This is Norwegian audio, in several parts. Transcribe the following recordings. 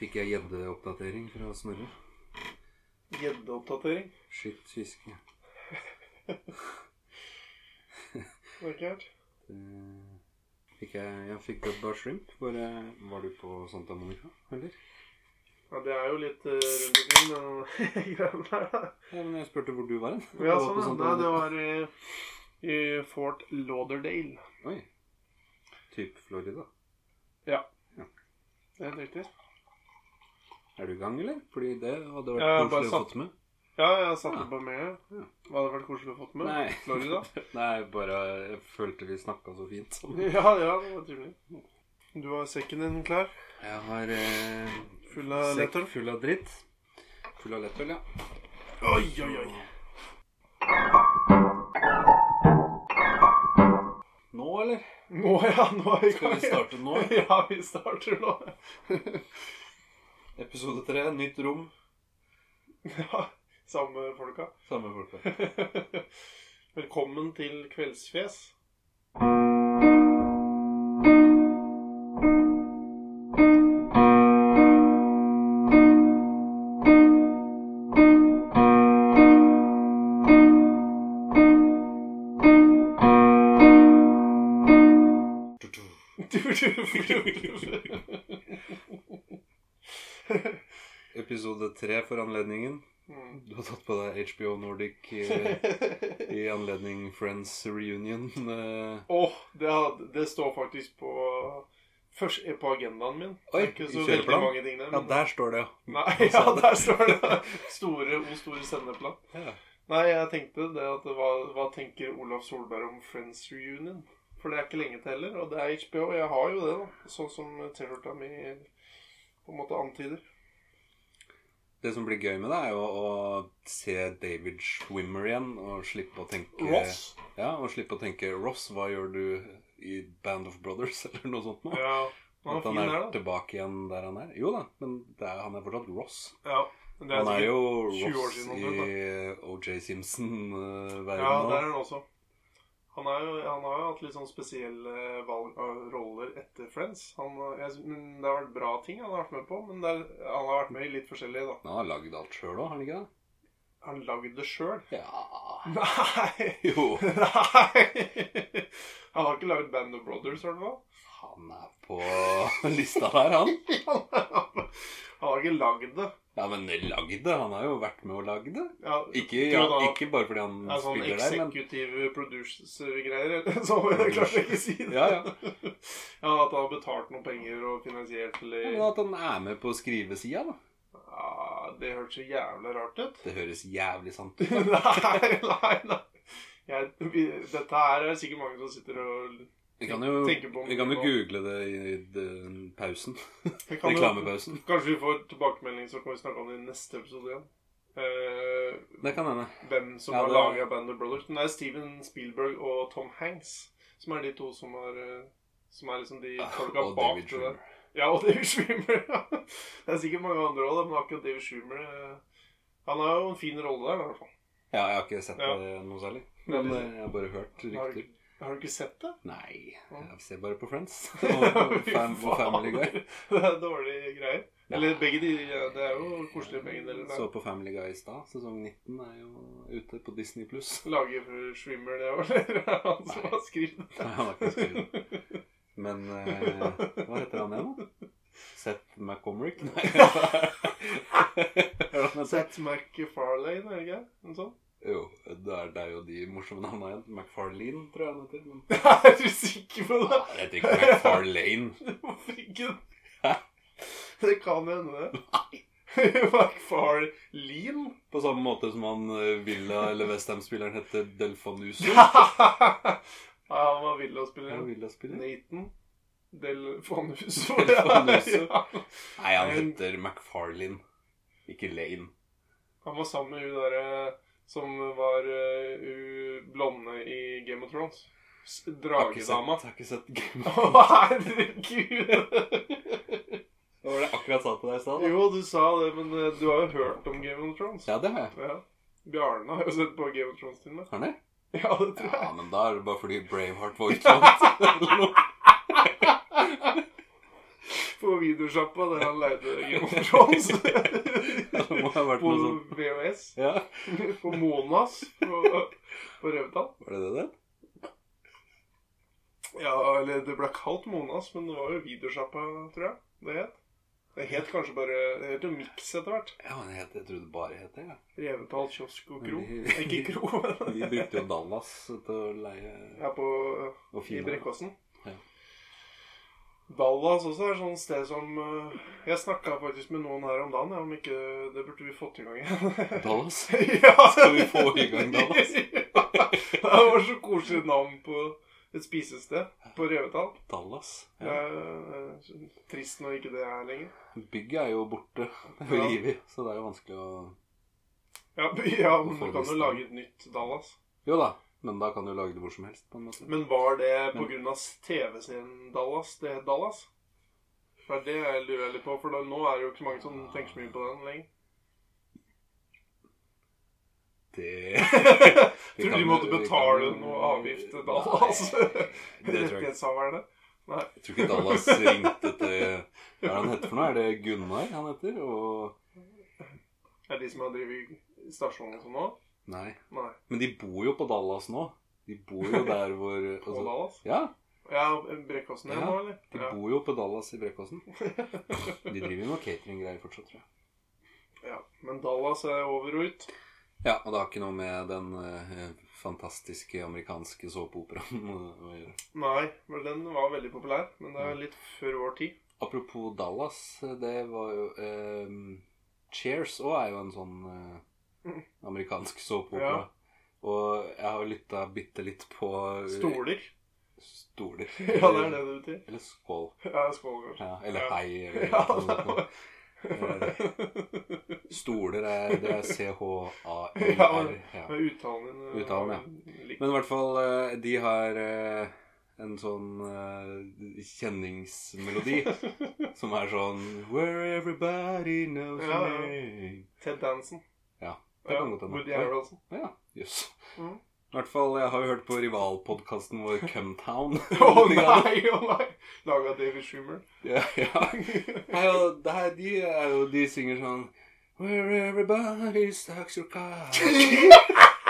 Fikk jeg gjeddeoppdatering fra Snorre? Gjeddeoppdatering. Skyt fiske. Det var ikke helt. Eh, Fikk jeg, jeg fikk Bubba Shrimp. Bare, var du på Santa Monica, eller? Ja, det er jo litt eh, rundt omkring, den greien der, da. Ja, men jeg spurte hvor du var hen. Ja, Jeg var på sånn, ja. Santa Nei, det Monica. var i, i Fort Lauderdale. Oi. Typ Florida. Det er helt riktig. Er du i gang, eller? Fordi det hadde vært Jeg bare koselig å satt- fått med. Ja, jeg satte Ja. på meg. Ah. Ja. Hva hadde vært koselig å fått med? Nei. Florida? Nei, bare jeg følte vi snakka så fint sammen. Ja, ja, det var tydelig. Du har sekken din klar? Jeg har eh, Full av sekk lettøl? full av dritt. Full av lettøl, ja. Oi, oi, oi. Nå, eller? Nå, ja. Nå er vi i Skal gang. vi starte nå? Ja, vi starter nå. Episode tre, nytt rom. Ja, samme folka. Samme folka. Velkommen til Kveldsfjes. Episode tre for anledningen. Mm. Du har tatt på deg HBO Nordic eh, i anledning Friends Reunion. eh. Åh, det, had- det står faktisk på Først er på agendaen min. Det Oi, er ikke så i veldig kjøreplan? mange ting der. Ja, men- der Altså. står det, ja. Nei, ja, der står det. Store, O store sendeplan. ja. Nei, jeg tenkte det at hva, hva tenker Olav Solberg om Friends Reunion? For det er ikke lenge til heller, og det er HBO. Jeg har jo det, da. Sånn som T-skjorta mi på en måte antyder. Det som blir gøy med det, er jo å se David Schwimmer igjen og slippe å tenke Ross? Ja, og slippe å tenke Ross, hva gjør du i Band of Brothers, eller noe sånt nå? Ja. Han er At han fin er der, da. tilbake igjen der han er. Jo da, men det er, han er fortsatt Ross. Ja. men Det er Han er jo sikkert- 20 år Ross siden i han OJ Simpson-verdenen Ja, der eh, nå. er han også. Han, er jo, han har jo hatt litt sånn spesielle valg av roller etter Friends. Han, har- jeg, sy- men det har vært bra ting han har vært med på, men det er, han har vært med i litt forskjellig, da. Han har lagd alt sjøl òg, har han ikke det? Har han lagd det sjøl? Ja Nei! Jo, Nei! Han har ikke lagd Band of Brothers, i hvert fall. han er på lista der, han. Han har ikke lagd det. Ja, men lagd det. Han har jo vært med og lagd det. Ja, Ikke, ja, Tror du da- ikke bare fordi han det er sånn spiller der, men executive producer-greier. eller? Så jeg klarte ikke å si det. Ja, ja. ja, At han har betalt noen penger og finansiert eller men at han er med på skrivesida, da. Ja, Ah, det hørtes så jævlig rart ut. Det høres jævlig sant ut. nei, nei, nei. Jeg, vi, dette her er sikkert mange som sitter og Vi kan jo, tenker på om vi kan jo det var- google det i, i den pausen. Vi kan jo- Reklamepausen. Kanskje vi får tilbakemelding, så kan vi snakke om det i neste episode igjen. Eh, Det kan hende. hvem som Ja, har det- laga Band of Brothers. Men det er Steven Spielberg og Tom Hanks som er de to som er, eh, som er liksom de folka Ah, Og bak David det der. Schwimmer. Ja, og David Schwimmer. ja. det er sikkert mange andre òg, men akkurat David Schwimmer eh, Han har jo en fin rolle der, i hvert fall. Ja, jeg har ikke sett Ja. det noe særlig. Men, Men eh, jeg har bare hørt Har du, rykter. har du ikke sett det? Nei, Ja. jeg ser bare på Friends. Og Fy fam og faen. Family Guy. Det er dårlige greier. Eller Nei. begge de ja, Det er jo koselig, begge deler. Så på Family Guy i stad. Sesong 19 er jo ute på Disney pluss. Lager for Schwimmer, det òg, eller er det han som Nei. har skrevet Nei, han har ikke skrevet det. Men eh, hva heter han igjen, da? Seth McComrick? Nei. Hva er det han heter? Seth MacFarlane, er det ikke? En sånn? Jo, det er, det er jo de morsomme navnene igjen. McFarlane, tror jeg han heter. Men... Er du sikker på Nei, det? det heter ikke McFarlane. Hvorfor ikke? Hæ? Det kan hende, det. MacFarlane? På samme måte som han eh, Villa eller Westham-spilleren heter Delfanuso. Ja, han var vill å spille. Er Villa-spiller? Nathan Del Fanuso. Del Fanuso. Ja. Nei, han heter McFarlane. Ikke Lane. Han var sammen med hun derre som var eh, hun blonde i Game of Thrones. S- Har ikke sett- Dragedama. Har ikke sett Game of Å, Herregud! Det var det jeg akkurat sa til deg i stad. da. Jo, du sa det, men eh, du har jo hørt om Game of Thrones. Ja, det har jeg. Ja. Bjarne har jo sett på Game of Thrones til meg. Har han det? Ja, det tror jeg. Ja, men da er det bare fordi Braveheart var utlandet. Eller noe. på videosjappa der han leide Game of Thrones. Det må ha vært på noe sånt. VHS. Ja, På Monas på, på Røvdal. var det det der? Ja, eller det ble kalt Monas, men det var jo videosjappa, tror jeg det het. Det het kanskje bare Det het jo Mix etter hvert. Ja, men jeg, jeg trodde det bare het det. Ja. Revetal kiosk og kro. Vi- Nei, Ikke kro, men Vi brukte jo Dallas til å leie ja, på, eh, og i fine. Brekkåsen. Ja. Dallas også er sånn sted som eh, Jeg snakka faktisk med noen her om dagen, ja, om ikke Det burde vi fått i gang igjen. Dallas? ja. Skal vi få i gang Dallas? det var så koselig navn på et spisested på Revetal. Dallas? Ja. Ja. trist når ikke det er lenger. Bygget er jo borte. Det er jo Ja. revet, så det er jo vanskelig å Ja, b- ja men Hvorfor du kan jo visste lage et nytt Dallas. Jo da, men da kan du lage det hvor som helst, på en måte. Men var det Men- pga. TV-serien Dallas det het Dallas? For det er det jeg lurer litt på, for da, nå er det jo ikke så mange som Ah. tenker så mye på den lenger. Det Vi Tror kan- de måtte vi betale kan- noe avgift til Dallas? Nei, det tror jeg ikke. Rettighetshaverne? Nei. Jeg tror ikke Dallas ringte til Hva er det han heter for noe? Er det Gunnar han heter? Og Er det de som har drevet stasjonen og sånn nå? Nei. Nei. Men de bor jo på Dallas nå. De bor jo der hvor På altså, Dallas? Ja, Ja, Brekkåsen igjen Ja, nå, eller? de Ja. bor jo på Dallas i Brekkåsen. De driver jo med cateringgreier fortsatt, tror jeg. ja. Men Dallas er over og ut. Ja, og det har ikke noe med den eh, fantastiske amerikanske såpeoperaen å gjøre. Nei, men den var veldig populær. Men det er litt før vår tid. Apropos Dallas, det var jo eh, Cheers òg er jo en sånn eh, amerikansk såpeopera. Mm. Ja. Og jeg har lytta bitte litt på eh, Stoler. Stoler. Ja, det er det det betyr. Eller skål. Ja, skål, kanskje. Ja, eller Ja. hei. Eller Ja, noe sånt noe. det var- Stoler er, det er Ja, C-H-A-L-R. Ja. Men uttalen din eh, Uttalen, var lik. Men i hvert fall, eh, de har eh, en sånn eh, kjenningsmelodi som er sånn Where everybody knows Ja, your ja. name. Ted Danson. Ja, det kan godt hende. Woody Harrelson. Ja, jøss. Mhm. I hvert fall, jeg har jo hørt på rivalpodkasten vår Cumtown. Å nei, å nei! Laga av David Schumer. Ja, ja. Nei, og det her, de, er jo, de synger sånn Where everybody stacks your car.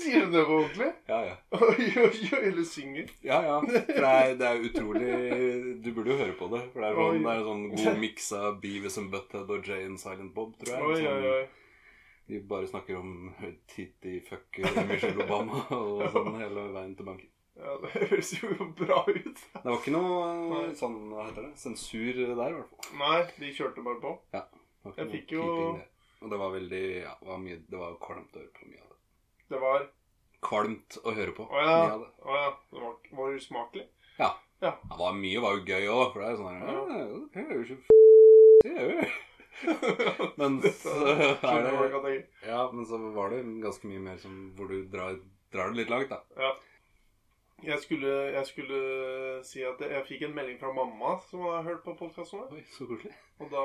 Sier hun det på ordentlig? Ja, ja. Oi, oi, oi, eller synger? Ja, ja. For det er, det er utrolig Du burde jo høre på det. For det er sånn, det er sånn god miks av Beavis and Butthead og Jay and Silent Bob, tror jeg. Oi, oi, Sånn, oi. de bare snakker om titty fucker Michelle Obama og sånn hele veien til banken. Ja, det høres jo bra ut. Det var ikke noe eh, Nei. sånn, hva heter det, sensur der, i hvert fall. Nei, de kjørte bare på. Det var Jeg ikke noe fikk jo- piping der. Og det var veldig Ja, det var, mye, det var kvalmt å høre på mye av det. Det var Kvalmt å høre på. Å ja. mye av det. Å ja, det var, var usmakelig. Ja, det var mye var jo gøy òg, for det er jo sånn her Ja. «Ja, det er jo ikke f***, det er jo». Men så er Skjønner folk det at jeg Ja, men så var det ganske mye mer som hvor du drar, drar det litt langt, da. Ja. Jeg skulle, jeg skulle si at jeg, jeg fikk en melding fra mamma som har hørt på podkasten vår. Oi, så koselig. Og da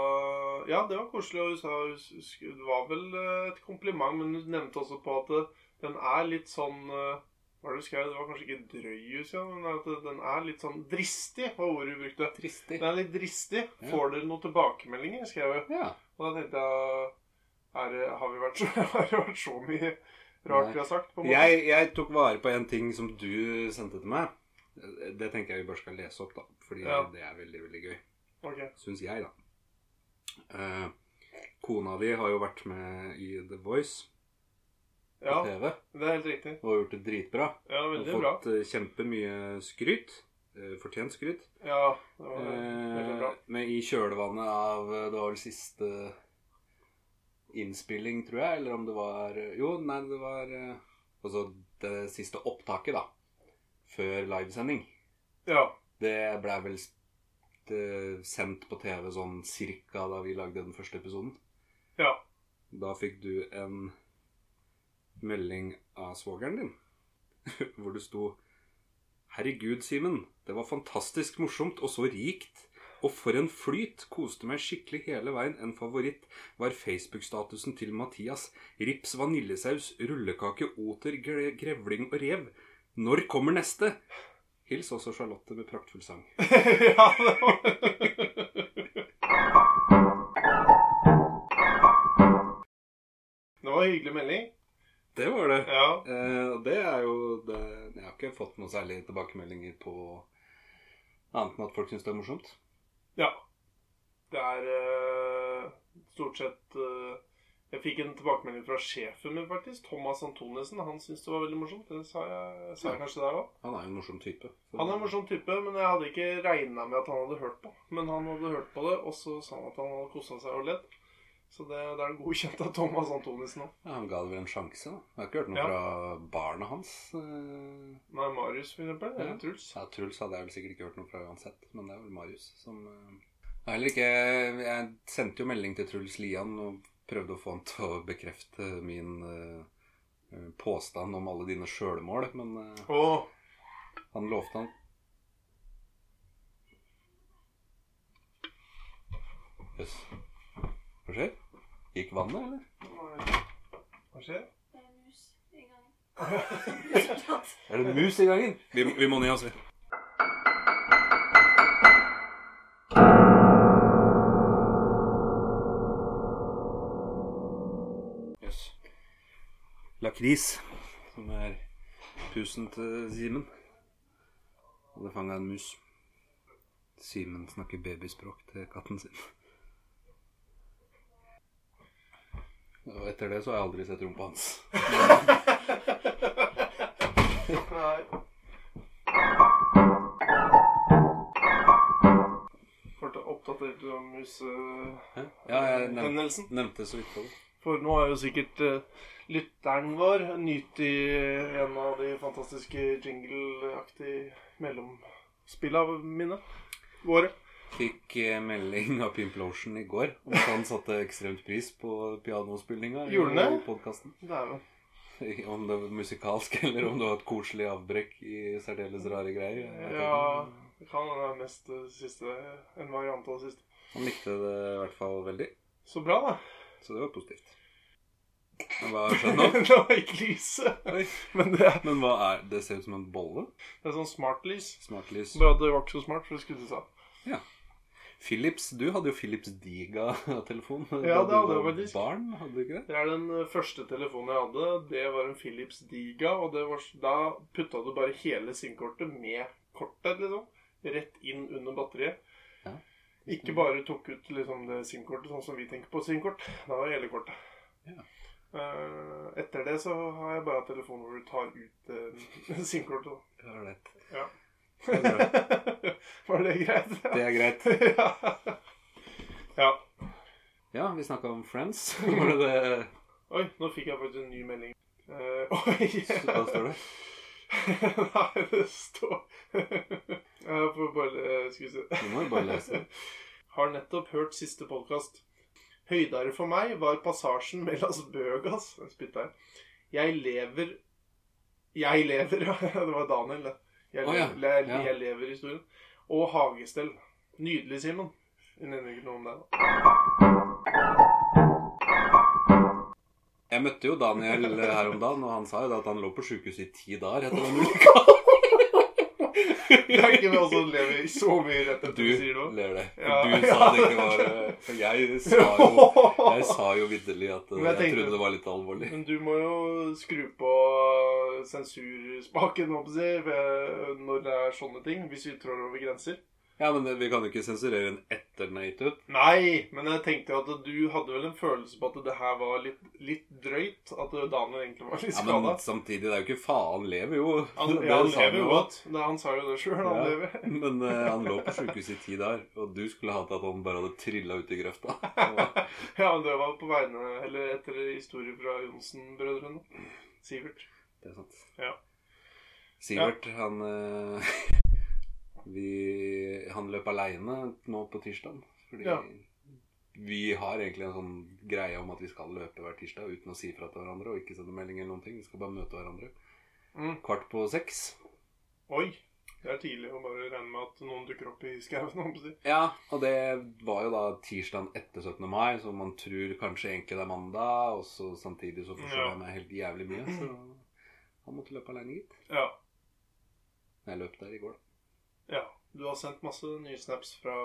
Ja, det var koselig. Og hun sa hun sk- Det var vel eh, et kompliment, men hun nevnte også på at eh, den er litt sånn eh, Hva er det du skrev? Det var kanskje ikke drøy, ja, men at eh, den er litt sånn dristig, var ordet hun brukte. Tristig. Den er litt dristig. Ja. Får dere noen tilbakemeldinger? skrev hun. Ja. Og da tenkte jeg er, det- Har vi vært så, har det vært så mye rart vi har sagt? på en måte? Jeg, jeg tok vare på en ting som du sendte til meg. Det tenker jeg vi bare skal lese opp, da. Fordi Ja. det er veldig, veldig gøy. Ok. Syns jeg, da. Eh, kona di har jo vært med i The Voice på Ja, TV det er helt riktig. og gjort det dritbra. Ja, Hun veldig har bra. fått eh, kjempemye skryt. eh, Fortjent skryt. Ja, det var veldig Eh, bra. men i kjølvannet av eh, Det var vel siste innspilling, tror jeg, eller om det var Jo, nei, det var eh, Altså det siste opptaket, da. Før livesending. Ja. Det blei vel s- det, sendt på TV sånn cirka da vi lagde den første episoden. Ja. Da fikk du en melding av svogeren din, hvor det sto Herregud, Simen. Det var fantastisk morsomt og så rikt. Og for en flyt! Koste meg skikkelig hele veien. En favoritt var Facebook-statusen til Mathias. Rips, vaniljesaus, rullekake, oter, gre grevling og rev. Når kommer neste? Hils også Charlotte med praktfull sang. ja, det var var en hyggelig melding. Det var det. Ja. Eh, og det er jo det, Jeg har ikke fått noen særlig tilbakemeldinger på annet enn at folk syns det er morsomt. Ja. Det er eh, stort sett eh, Jeg fikk en tilbakemelding fra sjefen min, faktisk. Thomas Antonissen. Han syntes det var veldig morsomt. Det sa jeg, sa jeg kanskje der òg. Han er jo en morsom type. Så- Han er en morsom type, men jeg hadde ikke regna med at han hadde hørt på. Men han hadde hørt på det, og så sa han at han hadde kosa seg og ledd. Så det, det er godkjent av Thomas Antonissen òg. Ja, han ga det vel en sjanse. da. Jeg har ikke hørt noe Ja. fra barna hans. eh. Nei, Marius, for eksempel. Eller Ja. Truls. Ja, Truls hadde jeg vel sikkert ikke hørt noe fra uansett, men det er vel Marius som eh, Jeg har heller ikke Jeg sendte jo melding til Truls Lian og prøvde å få han til å bekrefte min eh, eh, påstand om alle dine sjølmål, men eh, Å, han lovte han Jøss. Hva skjer? Gikk vannet, eller? nei. hva skjer? Det er mus i gangen. Er det en mus i gangen? Vi, vi må ned altså. og se. Jøss. Lakris, som er pusen til Simen. Hadde fanga en mus. Simen snakker babyspråk til katten sin. Og etter det så har jeg aldri sett rumpa hans. Nei. Ble oppdatert om Hæ? Ja, jeg nevnte, musehendelsen. nevnte så vidt på det. For nå er jo sikkert eh, lytteren vår nyt i en av de fantastiske jingle-aktige mellomspilla mine. Våre. Fikk eh, melding av Pimplotion i går om at han satte ekstremt pris på pianospillinga. i- Gjorde han det? i podcasten. Dæven. Om det var musikalsk, eller om det var et koselig avbrekk i særdeles rare greier. jeg vet Ja, ikke. det kan være mest eh, siste, en variant av det siste. Han likte det i hvert fall veldig, Så bra, da. så det var positivt. Men hva er skjønt nå? det var ikke lyset. Oi. Men det er, Men hva er Det ser ut som en bolle. det er sånn smart lys. Smartlys. Bare at det var ikke så smart, for det skudde seg av. Philips, du hadde jo Philips Diga-telefon Ja, det hadde du jeg var faktisk. barn, hadde du ikke det? Det er den eh, første telefonen jeg hadde. Det var en Philips Diga. Og det var, s- da putta du bare hele SIM-kortet med kortet, liksom. Rett inn under batteriet. Ja. Ikke bare tok ut liksom, det SIM-kortet, sånn som vi tenker på SIM-kort. Da var det hele kortet. Ja. Eh, etter det så har jeg bare telefoner hvor du tar ut eh, SIM-kortet. da. Det var lett. Ja. Det er bra. var det greit? Det er greit. ja. ja. Ja, vi snakka om Friends. Var det det Oi, nå fikk jeg faktisk en ny melding. Eh, oi! Hva står det? Nei, det står Jeg får bare eh, Skal vi se. Du må jo bare lese. Har nettopp hørt siste podkast. Høydere for meg var passasjen med Las Bøgas. Spytta jeg. Jeg lever Jeg lever, ja. Det var Daniel, det. Jeg, Å, ja. lever- jeg, Ja. jeg lever historien. Og hagestell. Nydelig, Simen. Hun nevner ikke noe om det. da. Jeg møtte jo Daniel eh, her om dagen, og han sa jo da at han lå på sjukehuset i ti dager etter den uka. Det er ikke vi også lever så mye rett etter Du du sier det òg. ler det. Ja. Du sa det ikke var eh, For jeg sa jo, jeg sa jo vitterlig at Men eh, jeg jeg tenkte- trodde det var litt alvorlig. Men du må jo skru på sensurspaken, må jeg si, ved- når det er sånne ting. Hvis vi trår over grenser. Ja, men eh, vi kan jo ikke sensurere den etter den er gitt ut. Nei, men jeg tenkte at du hadde vel en følelse på at det her var litt, litt drøyt? At Daniel egentlig var litt Ja, Men skada? samtidig, det er jo ikke faen lever jo. Han, Det ja, han sa han lever jo jo. godt. Det, han sa jo det sjøl, han Ja. lever. Men eh, han lå på sjukehuset i ti dager, og du skulle hatt at han bare hadde trilla uti grøfta. Og- Ja, men det var på vegne Eller etter historie fra Johnsen-brødrene. Sivert. Det er sant. Ja. Sivert, han eh, vi, Han løp aleine nå på tirsdag. Fordi Ja. vi har egentlig en sånn greie om at vi skal løpe hver tirsdag uten å si fra til hverandre og ikke sende melding eller noen ting. Vi skal bare møte hverandre. Mm. Kvart på seks. Oi. Det er tidlig å bare regne med at noen dukker opp i skauen. holdt jeg på å si. Ja, og det var jo da tirsdagen etter 17. mai, så man tror kanskje egentlig det er mandag, og så samtidig så forstår Ja. jeg meg helt jævlig mye, så han måtte løpe aleine, gitt. Ja. Jeg løp der i går, da. Ja, du har sendt masse nye snaps fra,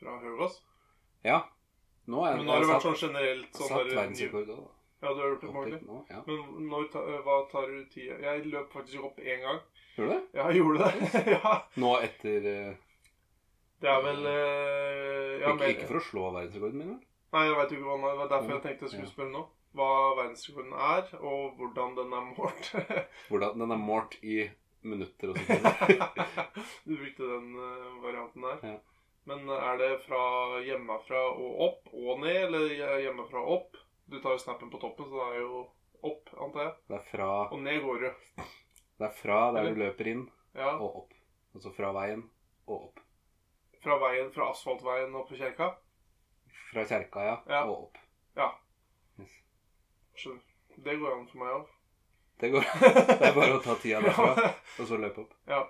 fra Høgås. Ja. Nå er Men nå har det jeg vært satt, sånn generelt sånn satt der, verdensrekord òg, da. Ja, du har gjort det, Marley. Opptatt nå, ja. Men når, ta- hva tar du tida Jeg løp faktisk opp én gang. Gjør du det? Ja, jeg gjorde det. ja. Nå etter eh, Det er vel eh, ja, ikke, mer- ikke for å slå verdensrekorden min, vel? Nei, jeg vet jo ikke hva den er. Det var derfor jeg tenkte jeg Ja. skulle spørre nå. Hva verdensrekorden er, og hvordan den er målt. Hvordan den er målt i minutter og sekunder. du brukte den eh, varianten der. Ja. Men eh, er det fra hjemmefra og opp og ned, eller hjemmefra og opp? Du tar jo snappen på toppen, så det er jo opp, antar jeg. Det er fra, Og ned går du. det er fra der du løper inn, Ja. og opp. Altså fra veien og opp. Fra veien, fra asfaltveien opp på kjerka. Fra kjerka, ja, Ja. og opp. Ja. Yes. Skjønner. Det går an for meg òg. Det går. Det er bare å ta tida derfra, og så løpe opp. Ja,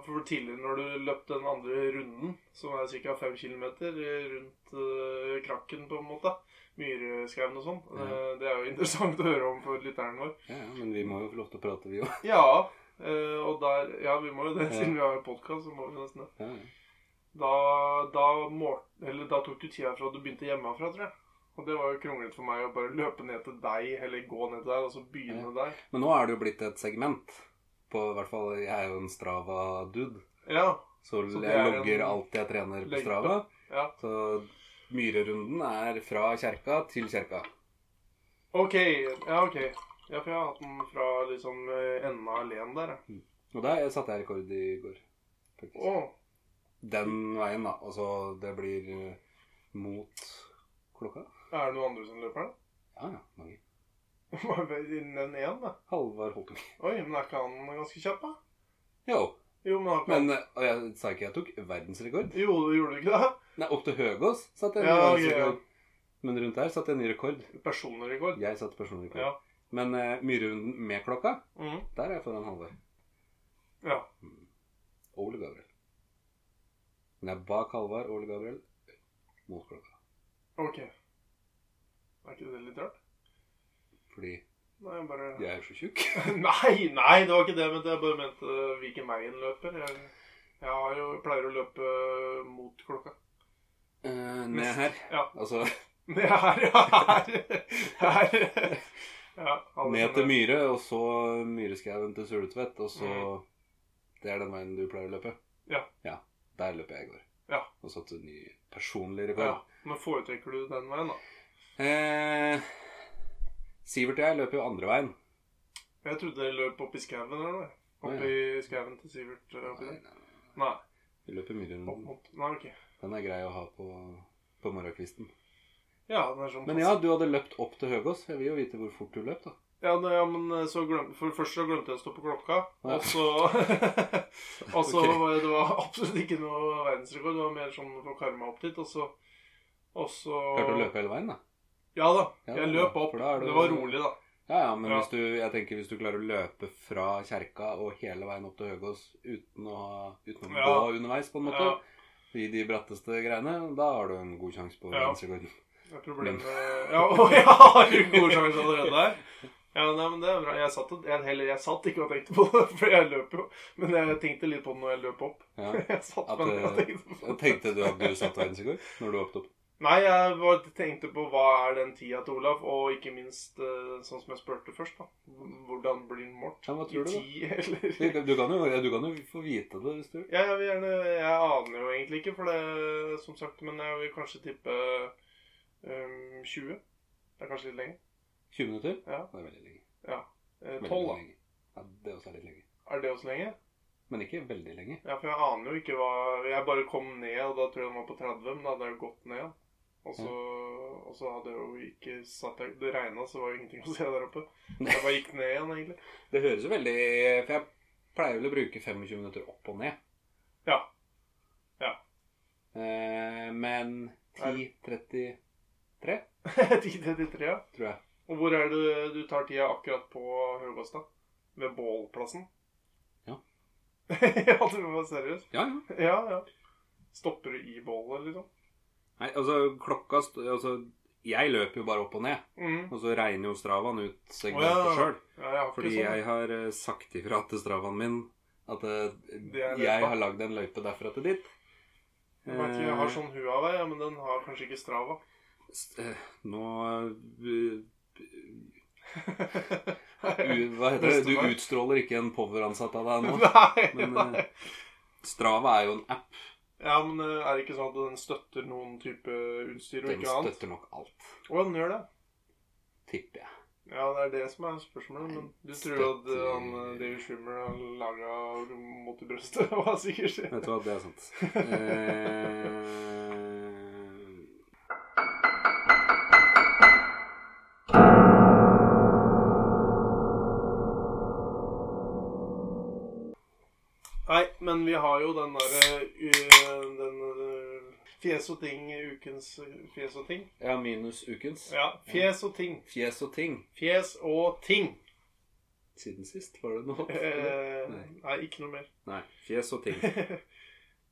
for tidligere når du løp den andre runden, som er ca. 5 km rundt eh, krakken, på en måte, myreskauen og sånn, Ja. eh, det er jo interessant å høre om for lytteren vår. Ja, ja, men vi må jo få lov til å prate, vi òg. Ja, eh, og der Ja, vi må jo det, siden vi har podkast, så må vi nesten det. Ja, ja. Da, da, mål, eller, da tok du tida fra du begynte hjemmefra, tror jeg. Og det var jo kronglete for meg å bare løpe ned til deg, eller gå ned til deg, og så begynne der. Men nå er det jo blitt et segment. På i hvert fall, Jeg er jo en Strava-dude. Ja. Så, Så det jeg er en logger alt jeg trener på legge- Strava. ja. Så myrerunden er fra kjerka til kjerka. OK. Ja, OK. Ja, for jeg har hatt den fra liksom eh, enden av alleen der, jeg. Og der satte jeg rekord i går. faktisk. Å, Den veien, da. Altså, det blir eh, mot klokka. er det noen andre som løper den? Ja, ja. Mange. Nevn én, da. Halvard Holten. Oi, men er ikke han ganske kjapp, da? Jo. Jo, men han kan Men eh, og jeg sa ikke jeg tok verdensrekord. Jo, du gjorde ikke det? Nei, opp til Høgås satte jeg ny Ja, ok, verdensrekord. Men rundt der satte jeg ny rekord. Personlig rekord. Jeg satte personlig rekord. Ja. Men eh, myrerunden med klokka, Mm. der er jeg foran Halvard. Ja. og Ole Gabriel. Men jeg er bak Halvard og Ole Gabriel mot klokka. Ok. Er ikke det litt rart? Fordi Nei, jeg bare jeg er så tjukk. Nei, nei, det var ikke det jeg mente. Jeg bare mente eh, hvilken vei en løper. Jeg, jeg har jo, pleier å løpe mot klokka. Eh, ned her. Ja. Altså Ned her, ja. Her. her. Ja, alle ned til skjønner. Myre, og så Myreskauen til Suletvedt, og så Det er den veien du pleier å løpe? Mm. Ja. ja der løper jeg i går. Ja. Og satte ny personlig Ja. rekord. Men foretrekker du den veien, da? Eh, Sivert og jeg løper jo andre veien. Jeg trodde dere løp opp i skauen eller noe. Opp Nei. i skauen til Sivert. eh, oppi Nei, der. nei, nei. Nei. Vi løper Opp Myrerunden. mot Nei, ok. Den er grei å ha på, på morgenkvisten. Ja, den er sånn Men ja, du hadde løpt opp til Høgås. Jeg vil jo vite hvor fort du løp, da. Ja, nei, ja, men eh, så glem, For først så glemte jeg å stå på klokka, Ja. og så Og så Ok. var det- Det var absolutt ikke noe verdensrekord. Det var mer sånn for å karre meg opp dit, og så Og så Klarte å løpe hele veien, da. Ja da. Ja, Jeg det er løp bra, opp. for da er det- Det var rolig, da. Ja, ja, men Ja. Hvis, du, jeg tenker, hvis du klarer å løpe fra kjerka og hele veien opp til Høgås uten å, ha- uten å Ja. gå underveis, på en måte, Ja. i de bratteste greiene, da har du en god sjanse på Ja. verdensrekorden. Det er problemet Ja, å, jeg har jo god sjanse allerede der. Ja, nei, men det er bra. Jeg satt, jeg, heller, jeg satt ikke og tenkte på det, for jeg løp jo. Men jeg tenkte litt på det når jeg løp opp. Ja. Jeg satt At, meg ned og eh, tenkte på Og det. Tenkte du at du satte verdensrekord når du hoppet opp? Nei, jeg bare tenkte på hva er den tida til Olav, og ikke minst eh, sånn som jeg spurte først, da. Hvordan blir den målt? Ja, hva I tror du, da? ti, eller Du, du, kan jo, ja, du kan jo få vite det hvis du vil. Ja, jeg vil gjerne Jeg aner jo egentlig ikke, for det som sagt, men jeg vil kanskje tippe eh, 20. Det er kanskje litt lenger. 20 minutter? Ja. Det er veldig lenge. Ja. Eh, Veldig 12, da. lenge. Ja, det også er litt lenge. Er det også lenge? Men ikke veldig lenge. Ja, for jeg aner jo ikke hva Jeg bare kom ned, og da tror jeg den var på 30, men da hadde jeg jo gått ned. Og så, og så hadde jeg jo ikke satt jeg, Det regna, så det var jo ingenting å se der oppe. Jeg bare gikk ned igjen, egentlig. Det høres jo veldig For jeg pleier vel å bruke 25 minutter opp og ned. Ja. Ja. Eh, men 10.33, Jeg gikk ned til trea. tror jeg. Og hvor er det du tar tida akkurat på Høgåstad? Ved bålplassen? Ja. ja, du var seriøs? Ja, ja. Ja, ja. Stopper du i bålet, liksom? Nei, altså, klokka st Altså, jeg løper jo bare opp og ned. Mm. Og så regner jo Stravaen ut Å, segmentet ja. sjøl. Ja, jeg har ikke Fordi sånn. jeg har eh, sagt ifra til Stravaen min at eh, Det er løypa. jeg har lagd en løype derfra til dit. Eh, Jeg, vet ikke, jeg sånn har sånn Huawei, ja, men den har kanskje ikke Strava. S- eh, Nå eh, Nei, U, hva heter det? Du Bestefar. utstråler ikke en power-ansatt av deg nå. nei, Men, eh, nei. Strava er jo en app. Ja, men eh, er det ikke sånn at den støtter noen type utstyr og Den ikke annet? støtter nok alt, Å, den gjør det. tipper jeg. Ja, det er det som er spørsmålet. Men du tror jo at eh, han eh, David Schumer har laga mot i brøstet? Hva sikkert skjer? Vet du hva, det er sant. Eh, Nei, men vi har jo den derre uh, Den eh, fjes og ting, ukens eh, fjes og ting. ja, minus ukens. Ja, fjes og ting. Fjes og ting. Fjes og ting. Siden sist, var det noe? eller? Eh, nei, ikke noe mer. Nei. Fjes og ting.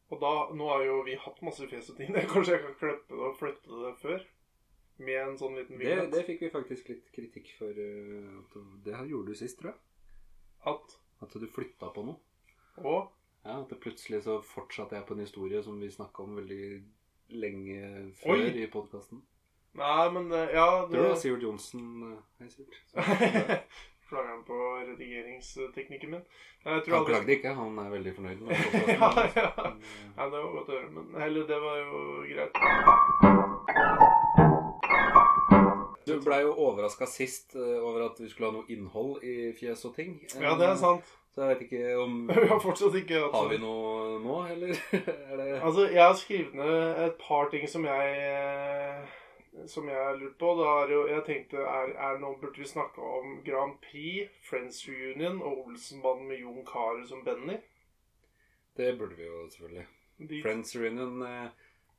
og da, nå har jo vi hatt masse fjes og ting. Kanskje jeg kan klippe det og flytte det før? Med en sånn liten Det, vignett. det fikk vi faktisk litt kritikk for. eh, at du- Det her gjorde du sist, tror jeg. At At du flytta på noe. og Ja, At det plutselig så fortsatte jeg på en historie som vi snakka om veldig lenge før Oi! i podkasten. Nei, men det, ja Tror du det var Sivert Johnsen eh, Hei, Sivert. Som- Klager han på redigeringsteknikken min? Nei, Jeg tror Han aldri- klagde ikke, han er veldig fornøyd med ja, podcasten. ja. Men, Ja, det var godt å høre, men Eller, det var jo greit. eh, Du blei jo overraska sist eh, over at vi skulle ha noe innhold i fjes og ting. Eh, Ja, det er sant. Så jeg vet ikke om Vi har fortsatt ikke hatt Har vi sånn. noe nå, eller? er det Altså, jeg har skrevet ned et par ting som jeg eh, Som jeg har lurt på. Det er jo, jeg tenkte er, er nå burde vi snakke om Grand Prix, Friends Reunion og Olsenbanden med Jon Carew som Benny. Det burde vi jo selvfølgelig. De, Friends reunion eh,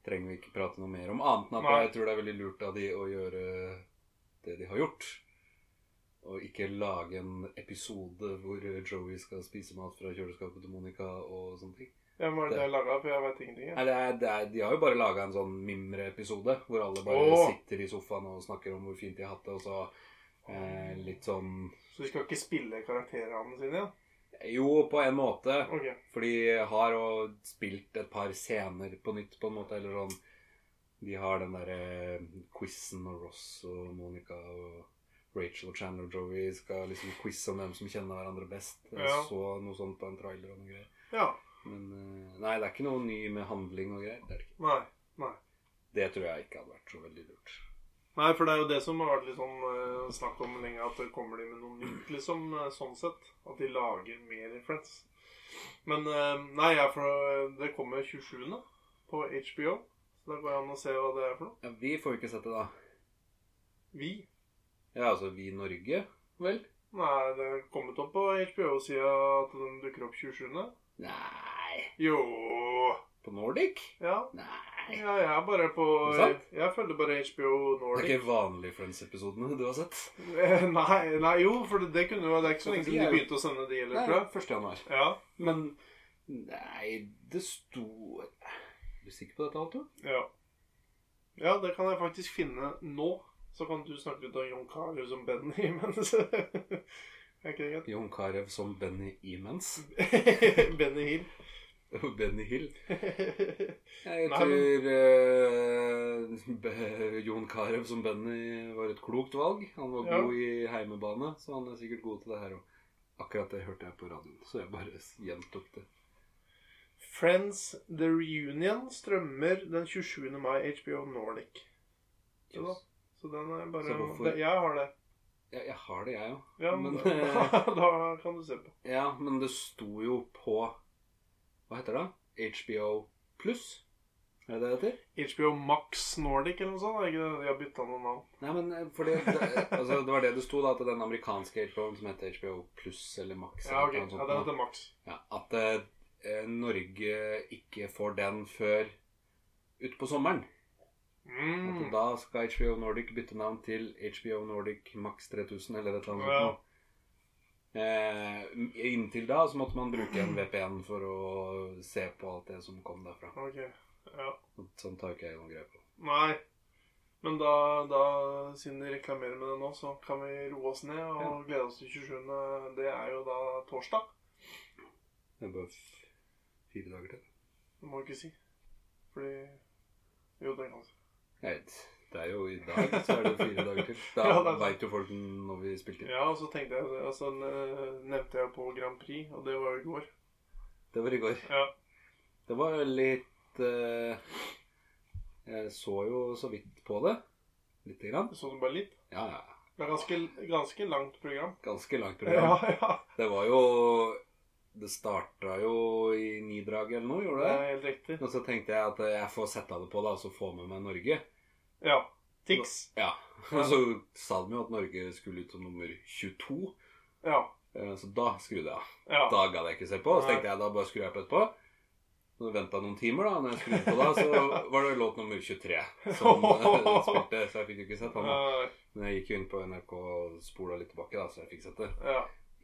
trenger vi ikke prate noe mer om, annet enn at Nei. jeg tror det er veldig lurt av de å gjøre det de har gjort. Og ikke lage en episode hvor Joey skal spise mat fra kjøleskapet til Monica og sånne ting. hvem var det jeg laga? For jeg veit ingenting. jeg. Nei, det er, det er, de har jo bare laga en sånn mimre-episode hvor alle bare Åh. sitter i sofaen og snakker om hvor fint de har hatt det, og så eh, litt sånn Så de skal ikke spille karakterene sine? Ja? Jo, på en måte. Ok. For de har jo spilt et par scener på nytt, på en måte. Eller sånn De har den derre eh, quizen og Ross og Monica og Rachel og Chandler og Joey skal liksom quize om hvem som kjenner hverandre best. Jeg Ja. så noe sånt på en trailer og noe greier. Ja. Men eh, nei, det er ikke noe ny med handling og greier. Det, er det ikke. Nei. det tror jeg ikke hadde vært så veldig lurt. Nei, for det er jo det som har vært litt sånn eh, snakk om lenge, at det kommer de med noe nytt, liksom, eh, sånn sett. At de lager mer Friends. Men eh, nei, jeg er for, det kommer 27. på HBO. Så da går det an å se hva det er for noe. Ja, vi får jo ikke sett det, da. Vi? Ja, altså vi i Norge, vel? Nei, det er kommet opp på HBO-sida at den dukker opp 27. Nei Jo På Nordic? Ja. Nei. Ja, jeg er bare på Er det Jeg, sant? følger bare HBO Det er Nordic. ikke vanlige Friends-episodene du har sett? Eh, Nei, nei, jo, for det, det kunne jo Det er ikke så lenge De siden de er jo- begynte å sende de, eller? tror jeg. 1. januar. Ja. Men Nei, det sto Er du sikker på dette, Halto? Ja. ja, det kan jeg faktisk finne nå. Så kan du snakke ut av John Carew som Benny mens Er ikke det Jon Carew som Benny imens. greit? Benny Hill. Benny Hill. Jeg Nei, tror eh, Be- Jon Carew som Benny var et klokt valg. Han var Ja. god i heimebane, så han er sikkert god til det her òg. Akkurat det hørte jeg på radioen, så jeg bare gjentok det. Friends The Reunion strømmer den 27. mai HBO Nordic. Ja da. Så den er bare Så hvorfor- Jeg har det. Jeg, jeg har det, jeg òg. Ja, men Men, da, da kan du se på. Ja, men det sto jo på Hva heter det? HBO pluss? Er det det det heter? HBO Max Nordic eller noe sånt? er det ikke det? De har bytta noen navn. Nei, men eh, for det, det, altså, det var det det sto, da, at den amerikanske HBO-en som heter HBO Pluss eller Max Ja, ok. eller Ja, noe sånt, den heter Max. ja, At eh, Norge ikke får den før utpå sommeren. At Mm. da skal HBO Nordic bytte navn til HBO Nordic Max 3000 eller et eller annet. Ja. sånt. Eh, inntil da så måtte man bruke en VPN for å se på alt det som kom derfra. Ok. Ja. Sånn tar ikke jeg noe greie på. Nei. Men da, da, siden de reklamerer med det nå, så kan vi roe oss ned og Ja. glede oss til 27. Det er jo da torsdag. Det er bare f- fire dager til. Det må du ikke si. Fordi Jo, det kan du si. Jeg vet. Det er jo i dag, så er det jo fire dager til. Da Ja, ja, det er sant. veit jo folk når vi spilte inn. Ja, og så tenkte jeg, altså, n- nevnte jeg på Grand Prix, og det var jo i går. Det var i går. Ja. Det var litt eh, Jeg så jo så vidt på det. Lite grann. Så du bare litt? Ja, ja. Det er ganske, ganske langt program. Ganske langt program. ja. Det var jo Det starta jo i ni drag eller noe, Det gjorde det? er helt riktig. Og så tenkte jeg at jeg får sette det på, da, og så få med meg Norge. Ja. Tix. Ja. Og så sa de jo at Norge skulle ut som nummer 22, Ja. eh, så da skrudde jeg av. Ja. Da gadd jeg ikke se på. Så Nei. tenkte jeg da bare skrur jeg på etterpå. Så venta noen timer, da. Når jeg skrudde på da, så var det låt nummer 23 som eh, spilte. Så jeg fikk jo ikke sett den. da. Nei, Men jeg gikk jo inn på NRK og spola litt tilbake, da, så jeg fikk sett det. ja.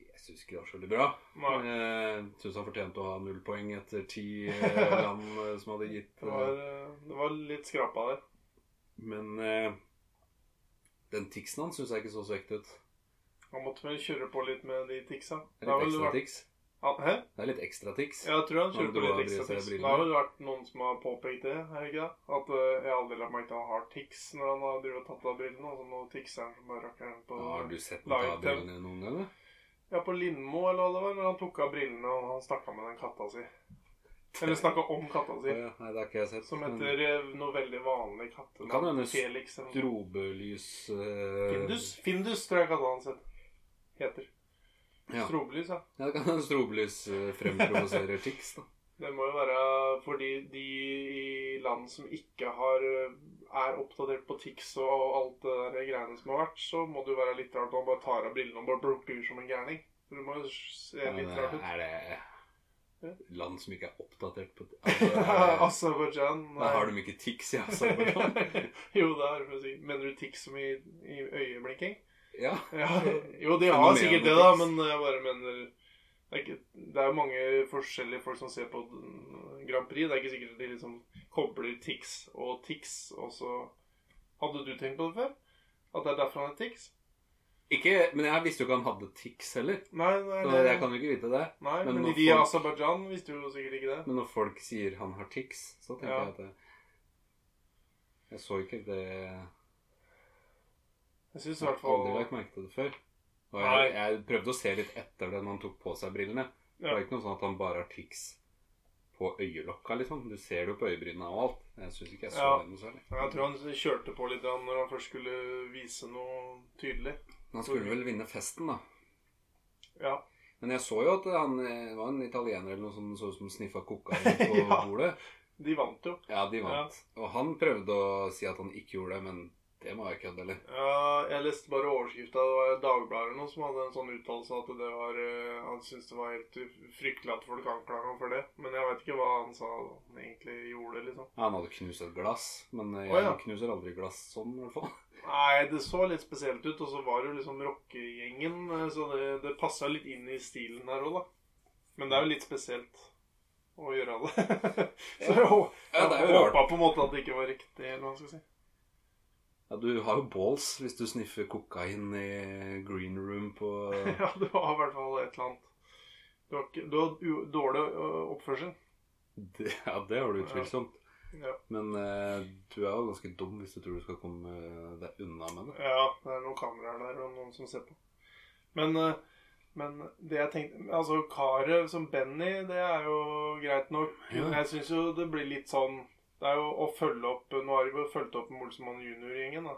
Jeg syns ikke det var så veldig bra. Nei. Eh, Syns han fortjente å ha null poeng etter ti eh, land eh, som hadde gitt Det eh, var, eh, det var litt skrapa der. Men eh, den tiksen hans syns jeg ikke så så ekte ut. Han måtte vel kjøre på litt med de tiksa. Det er har litt vel ekstra vært- tics. Han- Hæ? Det er litt ekstra tics. Jeg tror han kjører Ja, på men du litt har ekstra disse tics. Det brillene. har vel vært noen som har påpekt det, er det ikke det? At eh, jeg har aldri lagt merke til at han har tics når han har drevet og tatt av brillene. Altså nå tikser han som bare rakkeren på Ja, har du sett den Laget ta brillene dine noen gang? eller? Ja, på Lindmo eller hva det var, når han tok av brillene og han snakka med den katta si. Eller snakka om katta Å si. ja, Nei, det har ikke jeg sett. Som heter eh, noe veldig vanlig kattenavn. Kan hende Felix eller Men noe. Strobelys eh, Findus? Findus tror jeg katta hans het- heter. Ja. Strobelys, ja. ja, det kan hende strobelys eh, fremprovoserer tics, da. Det må jo være fordi de i land som ikke har er oppdatert på TIX og alt det der greiene som har vært, så må det jo være litt rart når man bare tar av brillene og bare blunker som en gærning. For det må jo se Men, litt eh, rart ut. er Ja. det land som ikke er oppdatert på altså, er det, Aserbajdsjan Da har de ikke tics i Aserbajdsjan. Jo, det er det å si. Mener du TIX som i, i øyeblinking? Ja. Ja. Jo, de har Fenomenet sikkert det, da, TIX. men jeg bare mener det er, ikke, det er mange forskjellige folk som ser på den- Grand Prix. Det er ikke sikkert at de liksom kobler TIX og TIX, og så Hadde du tenkt på det før? At det er derfor han er TIX? Ikke, men jeg visste jo ikke han hadde tics heller. Nei, nei, Så nei. jeg kan jo ikke vite det. nei men men, når de i folk- Aserbajdsjan visste jo sikkert ikke det. Men når folk sier han har tics, så tenker Ja. jeg at det, Jeg så ikke det Jeg Jeg syns i har hvert fall aldri lagt merke til det før. Og Nei. jeg, jeg prøvde å se litt etter det når han tok på seg brillene. Det Ja. var ikke noe sånn at han bare har tics på øyelokka, liksom. Du ser det jo på øyebrynene og alt. Jeg syns ikke jeg så Ja. det noe særlig. Jeg tror han kjørte på litt da når han først skulle vise noe tydelig. Men han skulle vel vinne festen, da. Ja. Men jeg så jo at han eh, var en italiener eller noe som så ut som sniffa kokain på Ja. bordet. De vant jo. Ja, de vant. Og han prøvde å si at han ikke gjorde det, men det må være kødd, eller? Ja, jeg leste bare overskrifta. Det var Dagbladet eller noe som hadde en sånn uttalelse at det var eh, Han syntes det var helt fryktelig at folk anklaga ham for det. Men jeg veit ikke hva han sa han egentlig gjorde, liksom. Ja, Han hadde knust et glass, men jeg Å, ja. knuser aldri glass sånn, i hvert fall. Nei, det så litt spesielt ut, og så var det jo liksom rockegjengen, eh, så det, det passa litt inn i stilen her òg, da. Men det er jo litt spesielt å gjøre det. så jeg, hå- Ja, det er jeg jo rart. håpa på en måte at det ikke var riktig, eller hva man skal si. Ja, Du har jo balls hvis du sniffer kokain i green room på Ja, det var i hvert fall et eller annet. Du har, ikke, du har u- dårlig ø, oppførsel. Det- Ja, det har du utvilsomt. Ja. Men eh, du er jo ganske dum hvis du tror du skal komme deg unna med det. Ja, det er noen kameraer der og noen som ser på. Men, eh, men det jeg tenkte Altså, karet som Benny, det er jo greit nok. Ja. Men jeg syns jo det blir litt sånn Det er jo å følge opp Nå har vi jo fulgt opp med Olsenmann junior-gjengen, da.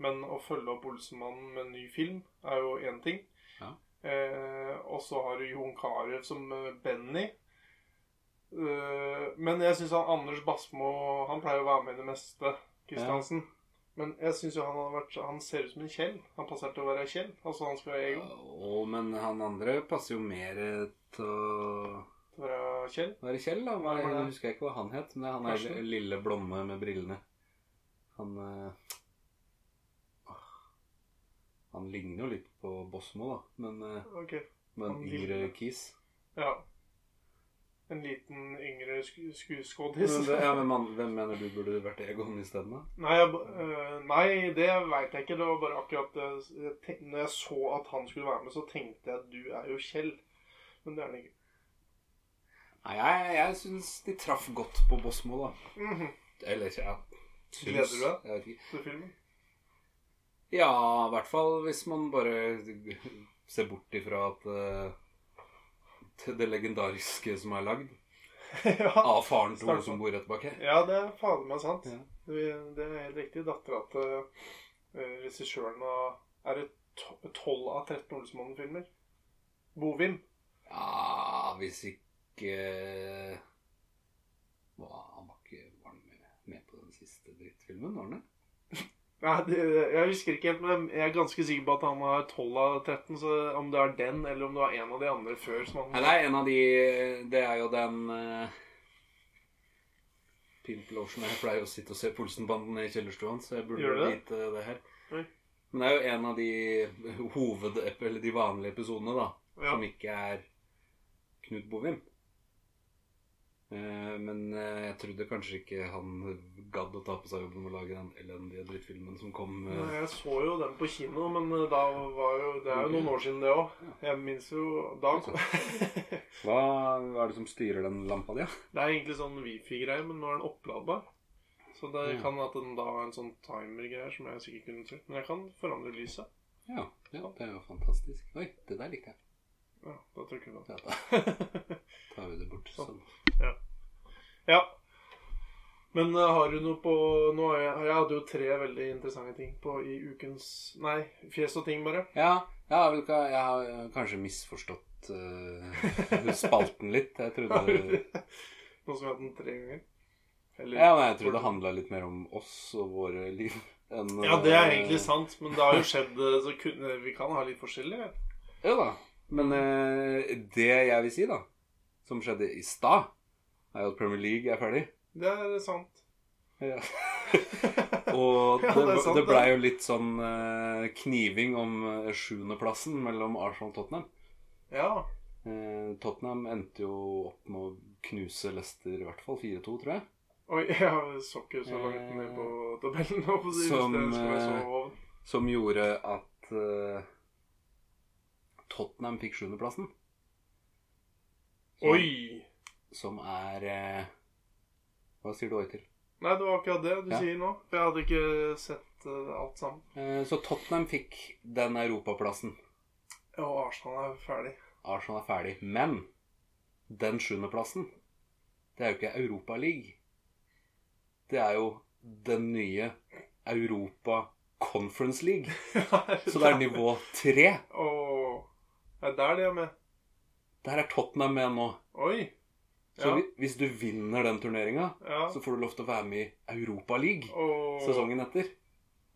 Men å følge opp Olsenmannen med en ny film er jo én ting. Ja. Eh, og så har du Jon Carew som eh, Benny. Eh, men jeg syns Anders Basmo Han pleier å være med i det meste. Kristiansen. Men jeg syns jo han hadde vært Han ser ut som en Kjell. Han passer til å være Kjell. Altså han skal være Egon. Og, men han andre passer jo mer eh, til å Til å være Kjell. være Kjell, da. Hva, Hvem er det? jeg husker ikke hva han het, men han Karsten? er lille blomme med brillene. Han eh, åh. Han ligner jo litt på Bosmo, da. Men eh, Ok. Med en Han yngre lille. kis. Ja. En liten yngre sk skuespillerskådis. Men det- Ja, men man, hvem mener du burde vært Egon isteden? da? Nei, jeg, ba- øh, nei, det veit jeg ikke. Det var bare akkurat øh, jeg tenk- Når jeg så at han skulle være med, så tenkte jeg at du er jo Kjell. Men det er han ikke. Nei, jeg, jeg syns de traff godt på Bosmo, da. Mhm. Eller ja, Gleder syns du deg? Jeg vet ikke. til filmen. Ja, i hvert fall hvis man bare ser bort ifra at eh, til det legendariske som er lagd ja. av faren til Snakker hun som bor rett bak her. ja, det er fader meg sant. Ja. Det, det er helt riktig. Dattera til eh, regissøren av Er det to- 12 av 13 Olsmannen-filmer? Bovim. Ja, hvis ikke Hva, Han var ikke var han med, med på den siste drittfilmen, var han det? Nei, det, jeg husker ikke helt, men jeg er ganske sikker på at han var 12 av 13. Så om det er den, eller om det var en av de andre før som Nei, han det er en av de Det er jo den uh, Pimp Lotion. Jeg pleier å sitte og se Polsenbanden i kjellerstua hans, så jeg burde Gjør du jo det? vite det her. Oi. Men det er jo en av de hoved... Eller de vanlige episodene, da. ja. Som ikke er Knut Bovim. Eh, men eh, jeg trodde kanskje ikke han gadd å ta på seg jobben med å lage den elendige drittfilmen som kom. eh. Nei, Jeg så jo den på kino, men eh, da var jo, det er jo noen år siden det òg. Jeg minnes jo da kom- Det Hva, hva er det som styrer den lampa di? da? er egentlig sånn wifi-greie, men nå er den oppladbar. Så det Ja. kan at den da har en sånn timer-greier som jeg sikkert kunne trykt. Men jeg kan forandre lyset. Ja, ja, det er jo fantastisk. Oi, det der likte jeg. Ja, da trykker vi på den. Ja, da tar vi det bort. Sånn. ja. Men eh, har du noe på Nå har jeg, jeg hadde jo tre veldig interessante ting på i ukens Nei, fjes og ting, bare. Ja, ja vel, ka- jeg har eh, kanskje misforstått eh, spalten litt. Jeg Nå skal trodde, vi ha den tre ganger. Eller- Eh. ja, men jeg trodde det handla litt mer om oss og våre liv. enn, Ja, det er eh, egentlig sant, men det har jo skjedd eh, Så kunne, vi kan ha litt forskjellig. vet du. Ja da. Men eh, det jeg vil si, da, som skjedde i stad, er jo at Premier League er ferdig. Det er sant. Ja. Og det, Ja, det er det, sant, blei det. jo litt sånn eh, kniving om eh, sjuendeplassen mellom Arsenal og Tottenham. Ja. Eh, Tottenham endte jo opp med å knuse Leicester i hvert fall 4-2, tror jeg. Oi, jeg så ikke så langt ned på tabellen. nå, for å si Eh, det, Som, det skulle jeg så eh, over. Som gjorde at eh, Tottenham fikk sjuendeplassen. Som- Oi! Som er eh, Hva sier du oi til? Nei, det var akkurat det du Ja. sier nå. For jeg hadde ikke sett eh, alt sammen. Eh, så Tottenham fikk den europaplassen. Og Arsenal er ferdig. Arsenal er ferdig. Men den sjuendeplassen, det er jo ikke Europa League. Det er jo den nye Europa Conference League. Så det er nivå tre. Åh. Det er der de er med. Der er Tottenham med nå. Oi. Så Ja. hvi- hvis du vinner den turneringa, Ja. så får du lov til å være med i Europa League Åh. sesongen etter.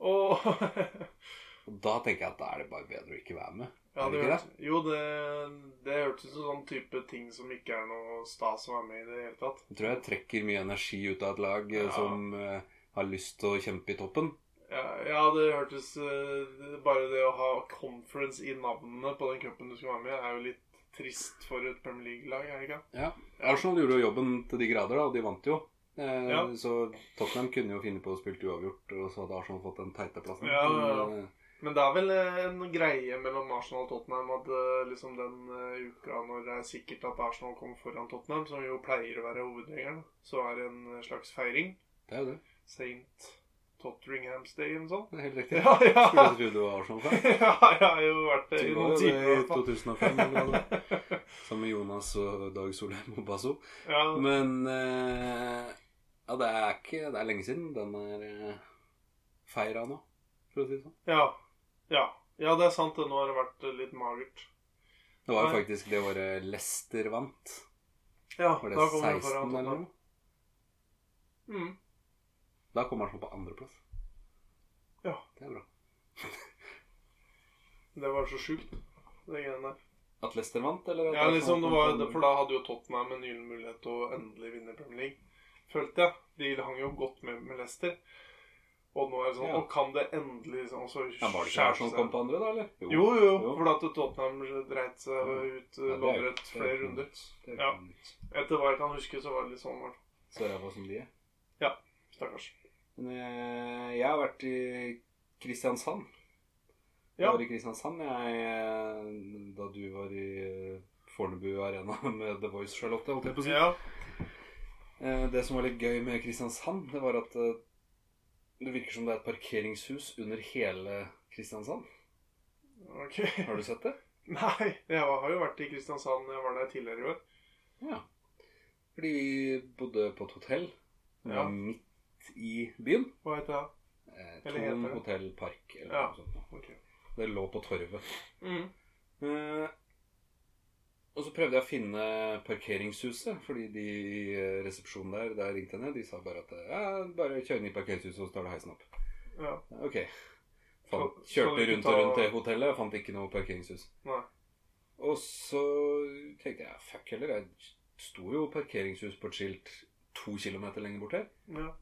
Åh. Og da tenker jeg at da er det bare bedre å ikke være med. ja, Er det det ikke hørtes, jo, det, det hørtes ut som sånn type ting som ikke er noe stas å være med i det hele tatt. Jeg tror jeg trekker mye energi ut av et lag eh, Ja. som eh, har lyst til å kjempe i toppen. Ja, ja, det hørtes eh, Bare det å ha conference i navnene på den cupen du skal være med, i, er jo litt trist for et Premier League-lag, er det ikke? Ja. Arsenal gjorde jo jobben til de grader, da, og de vant jo. Eh, Ja. Så Tottenham kunne jo finne på å spille uavgjort, og så hadde Arsenal fått den teite plassen. Ja, ja, ja. Men, eh, Men det er vel eh, en greie mellom Arsenal og Tottenham at eh, liksom den eh, uka når det er sikkert at Arsenal kommer foran Tottenham, som jo pleier å være hovedregelen, så er det en eh, slags feiring. det er jo det. Saint Totteringham's Day eller noe sånt. det er helt riktig. Ja, ja. Skulle tro du var Arsenal-fan. ja, jeg har jo vært det i Det var noen jo det timer. i i hvert fall. 2005, eller noe. sammen med Jonas og Dag Solheim og Basso. Ja, Men eh, ja, det er ikke Det er lenge siden den er eh, feira nå, for å si det sånn. ja, ja. ja, det er sant. det. Nå har det vært eh, litt magert. Det var jo Nei. faktisk det året Leicester vant. Ja, Var da det kommer 16 det foran eller Tottenham. noe? Mm. Da kom Arsenal på andreplass. Ja. Det er bra. Det var så sjukt, det greiene der. At Leicester vant, eller? at Ja, Arsenal liksom, det kom var, på andre- for da hadde jo Tottenham en gyllen mulighet til å endelig vinne Premier League. Følte jeg. De hang jo godt med med Leicester. Og nå er det sånn Ja. Og kan det endelig liksom, og så ja, Var det skjærer ikke Arsenal som seg. kom på andre, da, eller? Jo, jo, Jo. for at Tottenham dreit seg ut eh, Ja, det er jo- loddrett det er flere ikke noe runder. nytt. Det er Ja. ikke noe nytt. Etter hva jeg kan huske, så var det litt sånn. var det. Så ræva som de er. Stakkars. Men eh, jeg har vært i Kristiansand. Jeg Ja. var i Kristiansand jeg, eh, da du var i eh, Fornebu Arena med The Voice, Charlotte, holdt jeg på å si. ja. Eh, Det som var litt gøy med Kristiansand, det var at eh, Det virker som det er et parkeringshus under hele Kristiansand. Ok. Har du sett det? Nei, jeg var- har jo vært i Kristiansand. Jeg var der tidligere i år. Ja. Fordi vi bodde på et hotell Ja. Mm. midt i byen. Hva heter det? Eh, Eller heter Thon det? Hotel Park eller Ja. noe sånt. nå. Ok. Det lå på torvet. Mm. Eh, og så prøvde jeg å finne parkeringshuset, fordi de i eh, resepsjonen der der jeg ringte henne, de sa bare at eh, ja, bare kjør inn i parkeringshuset, og så tar du heisen opp. Ja. Ok. Fant, Så- så kjørte du ikke rundt og rundt ta- det hotellet, fant ikke noe parkeringshus. Nei. Og så tenkte jeg fuck heller, jeg sto jo parkeringshus på et skilt to kilometer lenger bort her. Ja.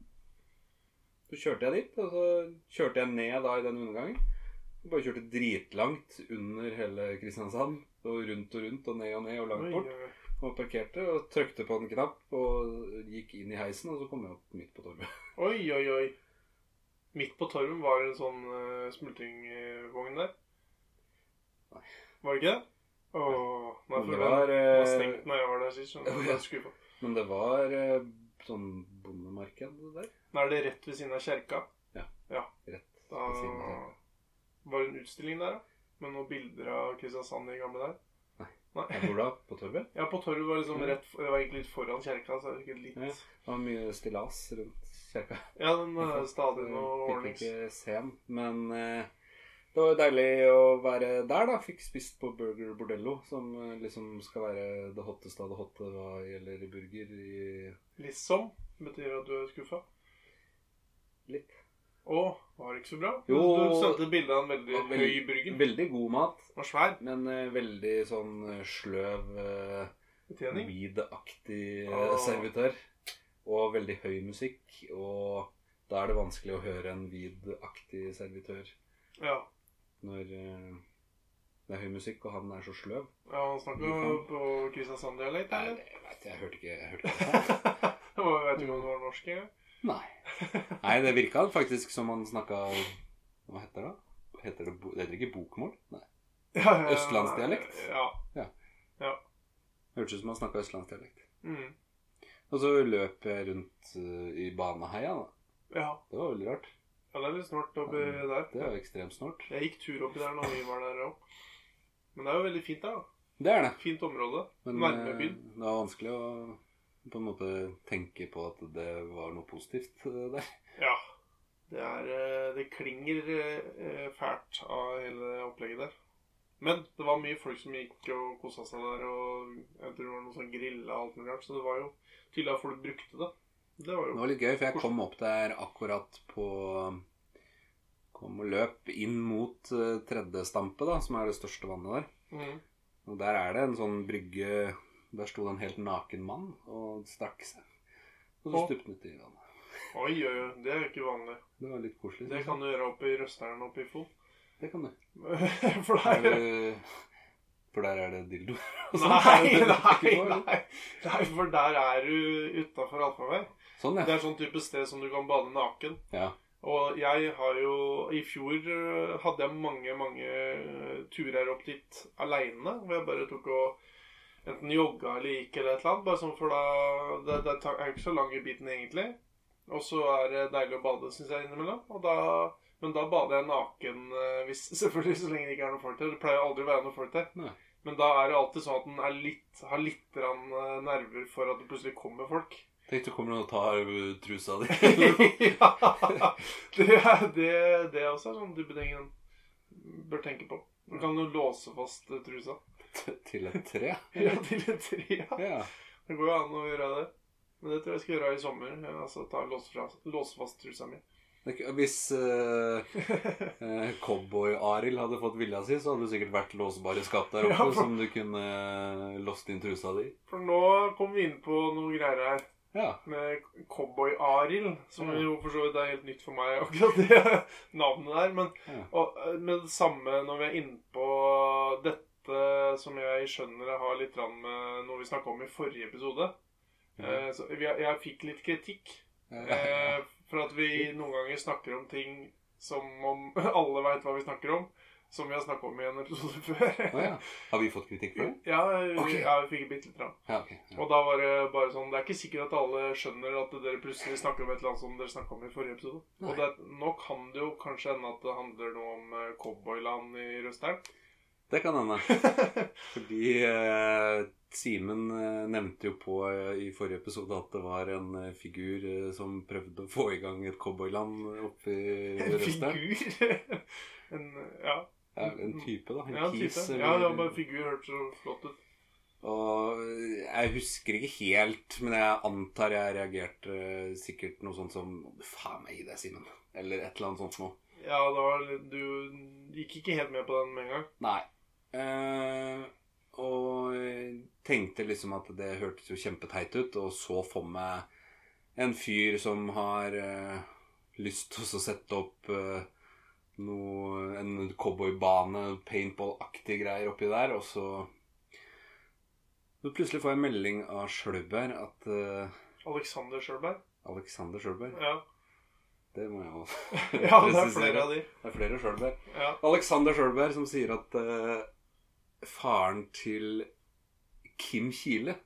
Så kjørte jeg dit, og så kjørte jeg ned da i den undergangen. Jeg Bare kjørte dritlangt under hele Kristiansand. Og rundt og rundt og ned og ned og langt Oi, bort. oi, oi. Og parkerte og trykte på en knapp og gikk inn i heisen, og så kom jeg opp midt på torvet. Oi, oi, oi. Midt på torven var det en sånn eh, smultringvogn der. Nei. Var det ikke det? Åh, Men nei, for det den var, var, eh, Oh, stengt når jeg var der sist. skjønner du, Ja. jeg ble skuffet. men det var eh, sånn bondemarked der. Nå er det rett ved siden av kjerka. Ja. ja. Rett Da ved siden av kjerka. var det en utstilling der, da. Med noen bilder av Kristiansand i gamle der. Nei. Nei. Jeg bor da på torvet. Ja, på torvet var det liksom Ja. rett for- Det var egentlig litt foran kjerka, så det er ikke litt Ja. Det var mye stillas rundt kjerka. Ja, den Vi er fikk- stadig noe Mm, Fikk ordnings... ikke se den, men eh, det var jo deilig å være der, da. Fikk spist på Burger Bordello, som eh, liksom skal være det hotteste av det hotte hva gjelder burger i Liksom betyr at du er skuffa. litt. Å, var det ikke så bra? Jo. Du sendte et bilde av en veldig Ja, vel- høy burger. Veldig god mat, Den var svær. men eh, veldig sånn eh, sløv, eh, Betjening. weed-aktig eh, Åh. servitør. Og veldig høy musikk, og da er det vanskelig å høre en weed-aktig servitør Ja. når eh, det er høy musikk, og han er så sløv. ja han snakka Liksom. på Kristiansand-dialekt, Nei, eller? det vet jeg. Jeg hørte ikke, jeg hørte ikke. Det var, vet ikke om det var norsk engang. Nei. Nei, det virka faktisk som han snakka Hva heter det? da? Heter det, bo- det heter ikke bokmål? Nei. Ja, ja, ja. Østlandsdialekt? Ja. Hørtes ut som han snakka østlandsdialekt. Mm. Og så løp jeg rundt eh, i Baneheia, da. ja. Det var veldig rart. Ja, det er litt snort oppi der. Det er jo ekstremt snålt. Jeg gikk tur oppi der når vi var der òg. Men det er jo veldig fint der, da. Det er det. Fint område. Men Nærme eh, byen. det var vanskelig å på en måte tenke på at det var noe positivt eh, der. Ja. Det er eh, Det klinger eh, fælt av hele opplegget der. Men det var mye folk som gikk og kosa seg der, og jeg tror det var noe sånn grilla og alt mulig rart. Så det var jo tydelig at folk brukte det. Det var Det jo var litt gøy, for jeg kom opp der akkurat på Kom og løp inn mot eh, tredje stampe, da, som er det største vannet der. mm. Og der er det en sånn brygge Der sto det en helt naken mann og strakk seg. Og så Å. stupte han uti vannet. Oi, oi, oi. Det er jo ikke vanlig. Det var litt koselig. Det kan du gjøre oppe i Røsteren oppe i Fon. det kan du. For Er der det- For der er det dildo. og sånt. Nei, Det Sånn er det du nei, tenker på, eller? nei. Nei, for der er du utafor allfarvei. Sånn, Det ja. er sånn type sted som du kan bade naken. ja. Og jeg har jo I fjor øh, hadde jeg mange, mange øh, turer opp dit aleine. Hvor jeg bare tok og enten jogga eller gikk eller et eller annet. Bare sånn for da Det, det tar- er jo ikke så lang i biten egentlig. Og så er det deilig å bade, syns jeg, innimellom. Og da, men da bader jeg naken, øh, hvis, selvfølgelig så lenge det ikke er noen folk der. Det pleier aldri å være noen folk der. Nei. Men da er det alltid sånn at en er litt, har litt grann, øh, nerver for at det plutselig kommer folk. Tenk, så kommer noen og tar uh, trusa di. ja, det, er, det, det er også sånn type ting en bør tenke på. Du kan jo låse fast eh, trusa. Til et tre. Ja, til et tre. ja. Ja. Det går jo an å gjøre det. Men det tror jeg skal gjøre i sommer. eh, Altså ta låse, fra, låse fast trusa mi. Det er ikke- Hvis eh, eh, cowboy-Arild hadde fått vilja si, så hadde det sikkert vært låsbare skap der oppe Ja, for- som du kunne eh, låst inn trusa di. For nå kom vi inn på noen greier her Ja. med Cowboy-Arild. Som Ja. jo for så vidt er helt nytt for meg, akkurat det navnet der. Men Ja. Og eh, med det samme når vi er innpå dette som jeg skjønner har litt grann med noe vi snakka om i forrige episode. Ja. Eh, Så vi- jeg fikk litt kritikk eh, for at vi noen ganger snakker om ting som om alle veit hva vi snakker om. Som vi har snakka om i en episode før. Å ja. Har vi fått kritikk for det? Ja, vi, Ok. ja, vi fikk bitte litt. Ja. Ja, ok. Ja. Og da var det bare sånn Det er ikke sikkert at alle skjønner at dere plutselig snakker om et eller annet som dere snakka om i forrige episode. Nei. Og det, nå kan det jo kanskje hende at det handler noe om eh, cowboyland i Røsteren. Det kan hende. Fordi eh, Simen eh, nevnte jo på eh, i forrige episode at det var en eh, figur eh, som prøvde å få i gang et cowboyland oppi En Røsteren. figur. en, ja, Ja, en type, da. En, ja, en kis. type. eller- Ja, ja, bare figur hørtes så flott ut. Og eh, jeg husker ikke helt, men jeg antar jeg reagerte eh, sikkert noe sånt som Faen meg, gi deg, Simen. Eller et eller annet sånt noe. Ja, det var litt Du gikk ikke helt med på den med en gang. Nei. Eh, og jeg tenkte liksom at det hørtes jo kjempeteit ut, og så for meg en fyr som har eh, lyst til å sette opp eh, noe, en cowboybane, paintball-aktige greier oppi der, og så så plutselig får jeg melding av Sjølberg at eh, Alexander Sjølberg. Alexander Sjølberg Ja. Det må jeg også ja, det er flere av de. Det er flere Sjølberg. Ja. Alexander Sjølberg som sier at eh, faren til Kim Kile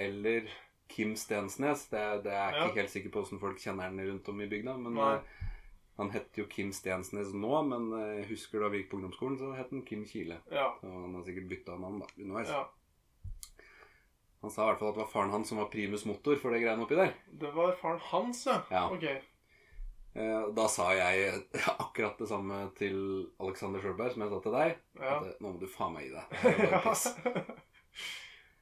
eller Kim Stensnes Det er, det er jeg ikke Ja. helt sikker på hvordan folk kjenner han rundt om i bygda. Men Nei. eh, Han het jo Kim Stensnes nå, men eh, jeg husker da vi gikk på ungdomsskolen, så het han Kim Kile. Ja. Og han har sikkert bytta navn da, underveis. ja. Han sa i hvert fall at det var faren hans som var primus motor for det greiene oppi der. Det var faren hans, ja. Ja. Ok. Eh, og da sa jeg eh, akkurat det samme til Alexander Sjølberg som jeg sa til deg. Ja. At, eh, nå må du faen meg gi deg. Det er bare piss.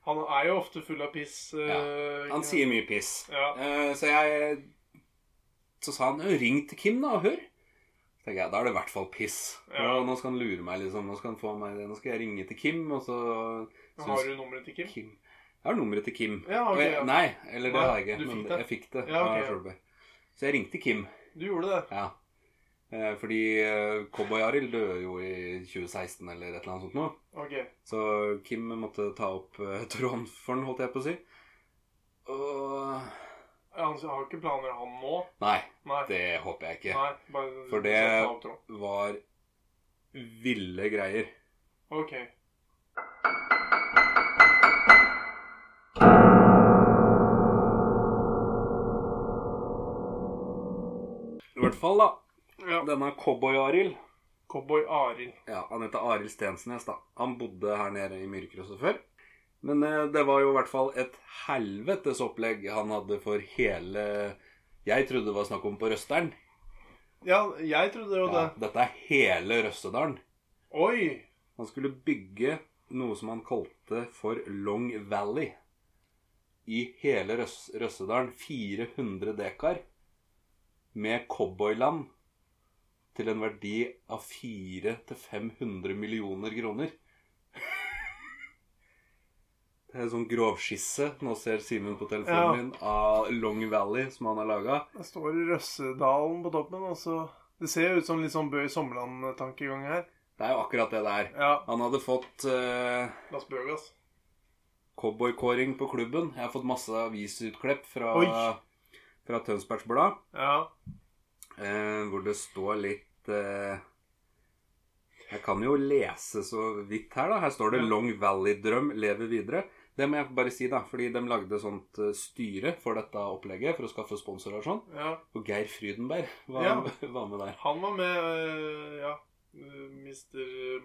Han er jo ofte full av piss. eh, Han sier mye piss. ja. Eh, så jeg Så sa han jo 'ring til Kim, da, og hør'. Så tenkte jeg, Da er det i hvert fall piss. Ja. Nå, nå skal han lure meg, liksom. Nå skal, han få meg, nå skal jeg ringe til Kim, og så Har du nummeret til Kim? Kim. Jeg har nummeret til Kim. Ja, Ah, ok, Og jeg, ja. Nei, eller det Nei, har jeg ikke. du Men fikk det. jeg fikk det. Ja, ok, av ja. Solberg. Så jeg ringte Kim. Du gjorde det. Ja. Eh, Fordi eh, Cowboy-Arild døde jo i 2016 eller et eller annet sånt noe. Ok. Så Kim måtte ta opp eh, tråden for han, holdt jeg på å si. Og Han har ikke planer, han nå? Nei, Nei. det håper jeg ikke. Nei bare, For det- så ta opp tråden. Var ville greier. Ok. I hvert fall, da. Ja. Denne cowboy-Arild Cowboy Arild. ja, Han heter Arild Stensnes, da. Han bodde her nede i Myrkrosset før. Men eh, det var jo i hvert fall et helvetes opplegg han hadde for hele Jeg trodde det var snakk om på Røsteren. Ja, jeg trodde jo Ja, det. dette er hele Røstedalen. Oi! Han skulle bygge noe som han kalte for Long Valley. I hele Røs Røssedalen. 400 dekar med cowboyland til en verdi av 400-500 millioner kroner. Det er en sånn grovskisse, nå ser Simen på Ja. telefonen min, av Long Valley som han har laga. Det står Røssedalen på toppen, og så Det ser jo ut som litt sånn Bø i Sommerland-tankegang her. Det er jo akkurat det det er. Ja. Han hadde fått eh, Las Bøgas. cowboykåring på klubben. Jeg har fått masse avisutklipp fra, fra Tønsbergs Blad, Ja. eh, hvor det står litt eh, Jeg kan jo lese så vidt her, da. Her står det Ja. 'Long Valley-drøm lever videre'. Det må jeg bare si, da, fordi de lagde sånt eh, styre for dette opplegget for å skaffe sponsorer og sånn. ja. Og Geir Frydenberg var, Ja. var med der. Han var med eh, Ja. eh, Mister eh,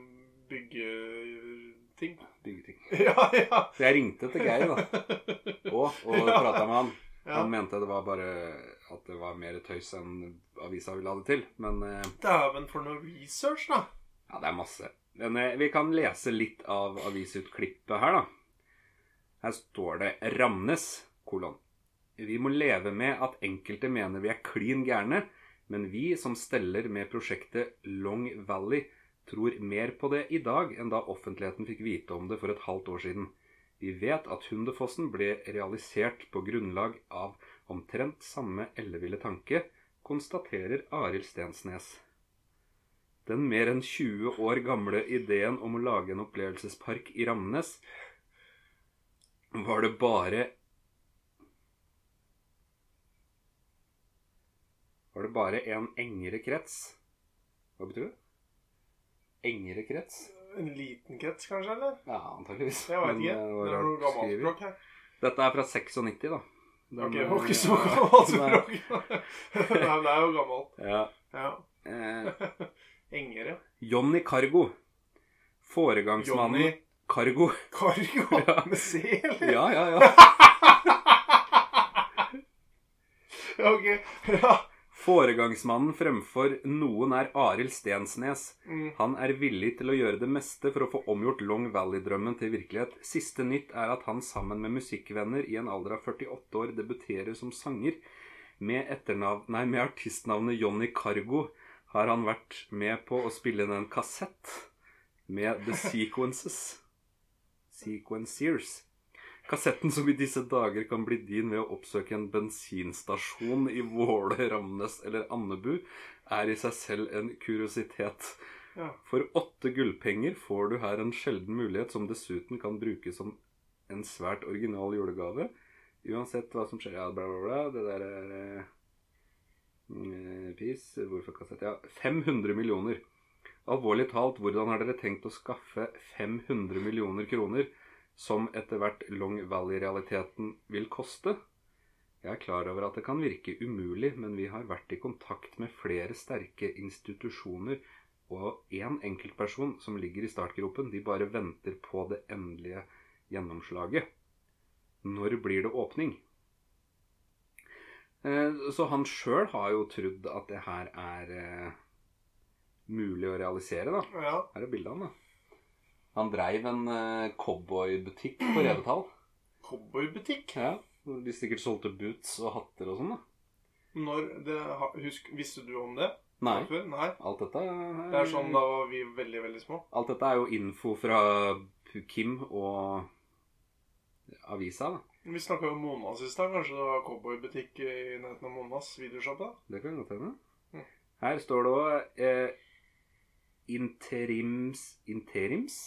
Byggeting. Digge ting. ja, ja. Så jeg ringte til Geir, da, og, og Ja. prata med han. ja. Han mente det var bare at det var mer tøys enn avisa ville ha det til. Men eh, Dæven for noe research, da. Ja, det er masse. Men eh, vi kan lese litt av avisutklippet her, da. Her står det 'Ramnes', kolon. Vi må leve med at enkelte mener vi er klin gærne, men vi som steller med prosjektet Long Valley, tror mer på det i dag enn da offentligheten fikk vite om det for et halvt år siden. Vi vet at Hundefossen ble realisert på grunnlag av omtrent samme elleville tanke, konstaterer Arild Stensnes. Den mer enn 20 år gamle ideen om å lage en opplevelsespark i Ramnes var det bare Var det bare en engere krets? Hva betyr det? engere krets. En liten krets, kanskje? eller? Ja, antakeligvis. Jeg veit eh, ikke. det var Det er noe rart gammelt skrevet. språk her. Dette er fra 96, da. Den, Ok, det var eh, ikke så gammelt språk. Nei, men det er jo gammelt. Ja. Ja. Eh, Engere. Johnny Cargo. Foregangsmannen Johnny Cargo. Cargo Ja. med C, eller? Ja, ja, ja. Ja, ok. Ja. Foregangsmannen fremfor noen er Arild Stensnes. Mm. Han er villig til å gjøre det meste for å få omgjort Long Valley-drømmen til virkelighet. Siste nytt er at han sammen med musikkvenner i en alder av 48 år debuterer som sanger. Med, etternavn, nei, med artistnavnet Johnny Cargo har han vært med på å spille inn en kassett med The Sequences. Sequencers. Kassetten som i disse dager kan bli din ved å oppsøke en bensinstasjon i Våle, Ramnes eller Andebu, er i seg selv en kuriositet. Ja. For åtte gullpenger får du her en sjelden mulighet som dessuten kan brukes som en svært original julegave. Uansett hva som skjer Ja, bla, bla, bla. Det der er eh, mm, Pis. Hvorfor kassett? Ja, 500 millioner. Alvorlig talt, hvordan har dere tenkt å skaffe 500 millioner kroner, som etter hvert Long Valley-realiteten vil koste? Jeg er klar over at det kan virke umulig, men vi har vært i kontakt med flere sterke institusjoner og én enkeltperson som ligger i startgropen. De bare venter på det endelige gjennomslaget. Når blir det åpning? Eh, Så han sjøl har jo trodd at det her er eh, mulig å realisere, da. ja. Her er bildet av han, da. Han dreiv en eh, cowboybutikk på Revetal. Cowboybutikk. Ja, hvor de sikkert solgte boots og hatter og sånn, da. Når det har- Husk, visste du om det? Nei. Før? Nei. Alt dette er, Det er sånn da var vi veldig, veldig små. Alt dette er jo info fra Kim og avisa, da. Vi snakka jo om Monas i stad. Kanskje det var cowboybutikk i nærheten av Monas videosjappe? Det kan godt hende. Mm. Her står det òg eh, interims Interims?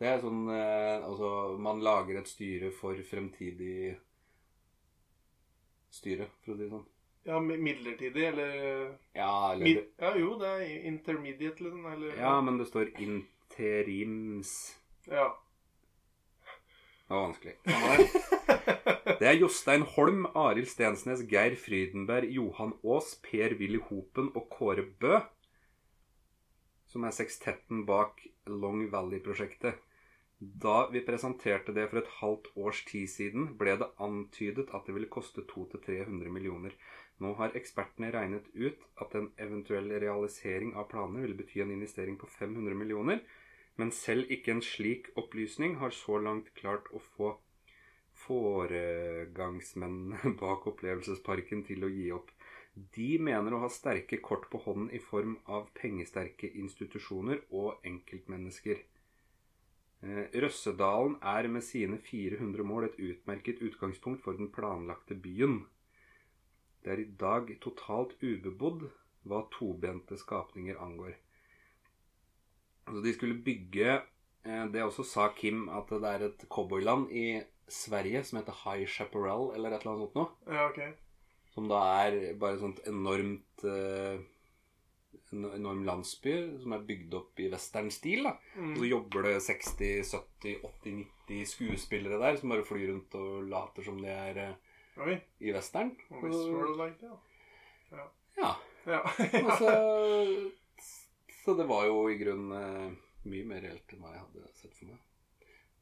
Det er sånn eh, Altså, man lager et styre for fremtidig styre, for å si det sånn. Ja, mi- midlertidig, eller Ja, eller mid, Ja, jo, det er intermediate, liksom. Eller Ja, men det står interims. ja. Det var vanskelig. Det er Jostein Holm, Arild Stensnes, Geir Frydenberg, Johan Aas, Per-Willy Hopen og Kåre Bø. Som er sekstetten bak Long Valley-prosjektet. Da vi presenterte det for et halvt års tid siden, ble det antydet at det ville koste 200-300 millioner. Nå har ekspertene regnet ut at en eventuell realisering av planene ville bety en investering på 500 millioner, men selv ikke en slik opplysning har så langt klart å få foregangsmennene bak opplevelsesparken til å gi opp. De mener å ha sterke kort på hånden i form av pengesterke institusjoner og enkeltmennesker. Eh, Røssedalen er med sine 400 mål et utmerket utgangspunkt for den planlagte byen. Det er i dag totalt ubebodd hva tobente skapninger angår. Altså, de skulle bygge eh, Det også sa Kim at det er et cowboyland i Sverige som heter High Chaparral eller et eller annet sånt noe. ja, ok. Som da er bare et sånt enormt eh, en enorm landsby som er bygd opp i western stil. da. Og så Mm. jobber det 60, 70, 80, 90 skuespillere der som bare flyr rundt og later som de er eh, Oi. i western. Og Westworld like det, Ja. ja. Og ja. så, så det var jo i grunnen eh, mye mer reelt enn hva jeg hadde sett for meg.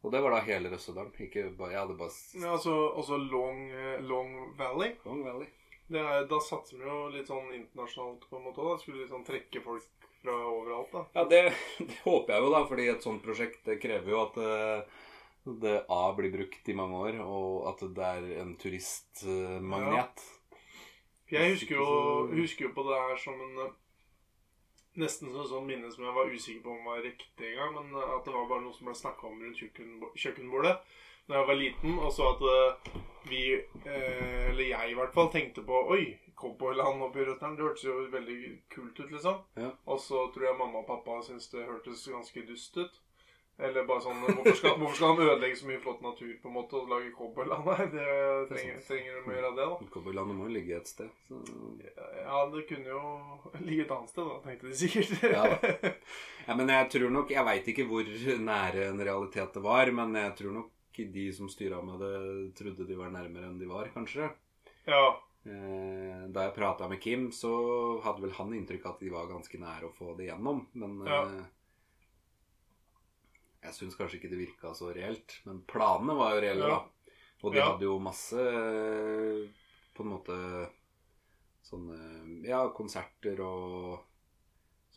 Og det var da hele Røssedalen. Ikke bare, jeg hadde bare s- ja altså, også Long, eh, Long Valley. Long Valley. Det er, da satser vi jo litt sånn internasjonalt på en måte. Da. Skulle liksom trekke folk fra overalt, da. Ja, det, det håper jeg jo, da. fordi et sånt prosjekt det krever jo at eh, det A blir brukt i mange år, og at det er en turistmagnet. For jeg husker jo, Hvis ikke så- husker jo på det her som en eh, Nesten som et sånt minne som jeg var usikker på om var riktig en gang, men eh, at det var bare noe som ble snakka om rundt kjøkkenbo- kjøkkenbordet da jeg var liten, og så at eh, vi, eh, eller jeg i hvert fall, tenkte på Oi, cowboyland oppe i Røtneren, det hørtes jo veldig kult ut, liksom. Ja. Og så tror jeg mamma og pappa syntes det hørtes ganske dust ut. Eller bare sånn Hvorfor skal, hvorfor skal han ødelegge så mye flott natur på en måte og lage cowboyland? Nei, det trenger, trenger de å gjøre det, da. Cowboylandet må jo ligge et sted. Så. Ja, det kunne jo ligge et annet sted, da, tenkte de sikkert. Ja Ja, men jeg tror nok Jeg veit ikke hvor nære en realitet det var, men jeg tror nok de som styra med det, trodde de var nærmere enn de var, kanskje. ja. Eh, Da jeg prata med Kim, så hadde vel han inntrykk av at de var ganske nære å få det gjennom. Men Ja. eh, jeg syns kanskje ikke det virka så reelt. Men planene var jo reelle, Ja. da. Og de Ja. hadde jo masse eh, på en måte sånne Ja, konserter og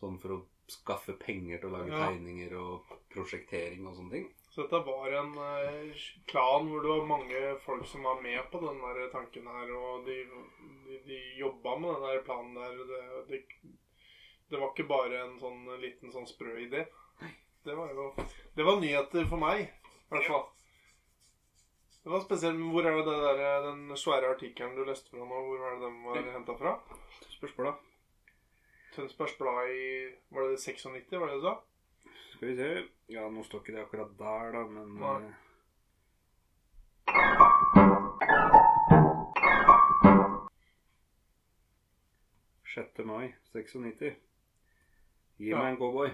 sånn for å skaffe penger til å lage Ja. tegninger og prosjektering og sånne ting. Så dette var en eh, klan hvor det var mange folk som var med på den der tanken her, og de, de, de jobba med den der planen der. og Det, det, det var ikke bare en sånn liten sånn sprø idé. Det var jo Det var nyheter for meg, i hvert fall. Det var spesielt, men Hvor er det, det der, den svære artikkelen du leste fra nå, hvor er det den var henta fra? Spørsmål, da? Tønsbergs Blad i Var det 96, var det det du sa? Skal vi se. Ja, nå står ikke det akkurat der, da, men Nei. eh, Sjette mai 96. Gi Ja. meg en cowboy.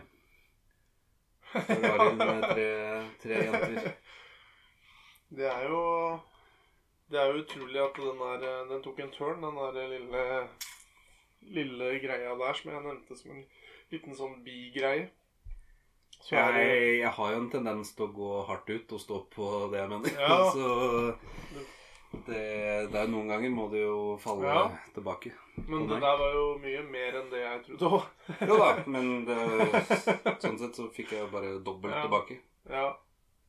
Så var det med tre, tre jenter. Det er jo Det er jo utrolig at den der Den tok en turn, den der lille Lille greia der som jeg nevnte som en liten sånn bigreie. Så er Jeg, det jeg har jo en tendens til å gå hardt ut og stå på det jeg mener. Ja. Så det, det er noen ganger må det jo falle Ja. tilbake. Men det der var jo mye mer enn det jeg trodde òg. Jo da, men det, sånn sett så fikk jeg jo bare dobbelt Ja. tilbake. Ja.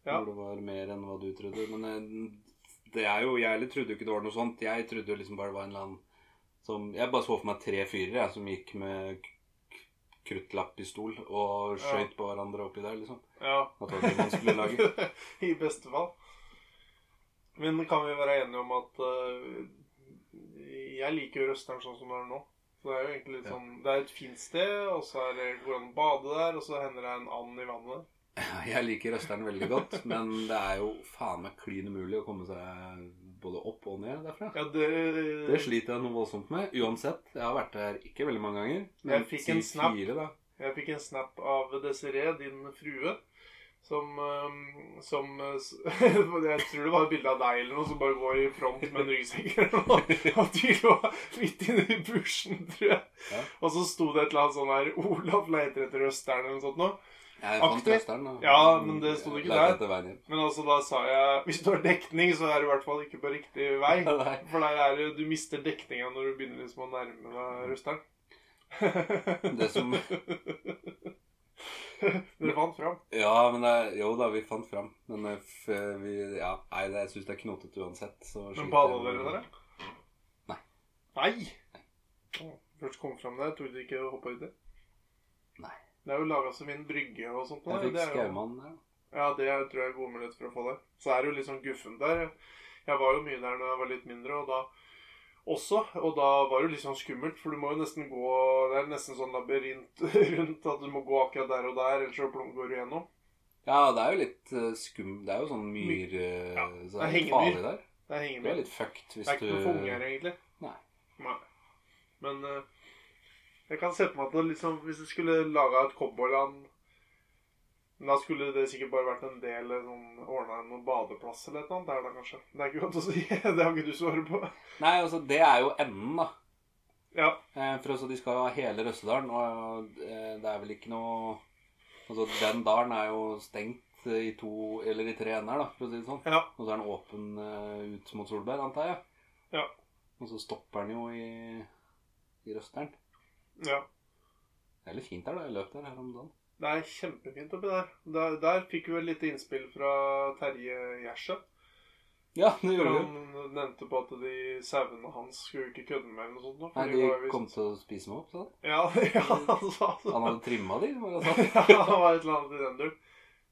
Ja. Hvor det var mer enn hva du trodde. Men eh, det er jo, jeg heller trodde jo ikke det var noe sånt. Jeg trodde jo liksom bare det var en eller annen som Jeg bare så for meg tre fyrer jeg, som gikk med k- k- kruttlappistol og Ja. skøyt på hverandre oppi der, liksom. ja. At det var det man skulle lage. I beste fall. Men kan vi være enige om at eh, jeg liker jo Røsteren sånn som det er nå. Så det er jo egentlig litt Ja. sånn Det er et fint sted, og så er det går an å bade der, og så hender det en and i vannet. Jeg liker Røsteren veldig godt, men det er jo faen meg klin umulig å komme seg både opp og ned derfra. Ja, det, Det sliter jeg noe voldsomt med. Uansett, jeg har vært der ikke veldig mange ganger. Jeg fikk en si snap. Fire, da. Jeg fikk en snap av Desiree, din frue, som, eh, som eh, s- Jeg tror det var et bilde av deg eller noe som bare går i front med en ryggsekk eller noe. Og de lå midt inne i bushen, tror jeg. Ja. Og så sto det et eller annet sånn her Olaf leiter etter Østern eller noe sånt noe. Jeg fant Aktiv. Røsteren. da. Ja, men det sto det ikke Jeg lette der. etter veien hjem. Men altså, da sa jeg Hvis du har dekning, så er du i hvert fall ikke på riktig vei. Nei. For der er det, du mister dekninga når du begynner liksom å nærme deg Røstern. Det som Dere fant fram. Ja, men det, jo da, vi fant fram. Men eh, f, vi, ja, nei, det, jeg syns det er knotete uansett. Så Men sliter bada jeg med- dere der, Nei. Nei? Å, Først kom fram der, torde dere ikke hoppe uti? Nei. Det er jo laga som en brygge og sånt. nå, Jeg fikk det er jo- Skaumann der. Ja, det er- tror jeg er gode muligheter for å få det. Så er det jo litt sånn guffent der. Jeg var jo mye der når jeg var litt mindre, og da også. Og da var det jo litt sånn skummelt, for du må jo nesten gå Det er nesten sånn labyrint rundt at du må gå akkurat der og der, ellers så plom- går du gjennom. Ja, det er jo litt eh, skum... Det er jo sånn myr... eh, Ja, Så det det er er litt hengemyr. farlig der. Det henger Du er med. litt fucked hvis Det er du ikke noe for unger, egentlig. Nei. Nei. Men eh, jeg kan se på meg at det liksom, hvis du skulle laga et cowboyland men Da skulle det sikkert bare vært en del eh, sånn, ordna en badeplass eller et eller annet der, da kanskje. Det er ikke godt å si. Det har ikke du svaret på. Nei, altså, det er jo enden, da. Ja. Eh, For altså, de skal jo ha hele Røssedalen, og eh, det er vel ikke noe Altså, den dalen er jo stengt eh, i to eller i tre ender, da, for å si det sånn. Ja. Og så er den åpen eh, ut mot Solberg, antar jeg. Ja. Og så stopper den jo i, i Røsteren. ja. Det er litt fint der, da. Jeg løp der her om dagen. Det er kjempefint oppi der. Der, der fikk vi vel litt innspill fra Terje Gjerse. Ja, det gjorde vi. Han nevnte på at de sauene hans skulle ikke kødde med eller noe sånt. nå, for Nei, de de var visst- kom til å spise meg opp, sa han. Ja, ja, han sa det. Han hadde trimma de, var det han sa. ja, det var et eller annet i den duren.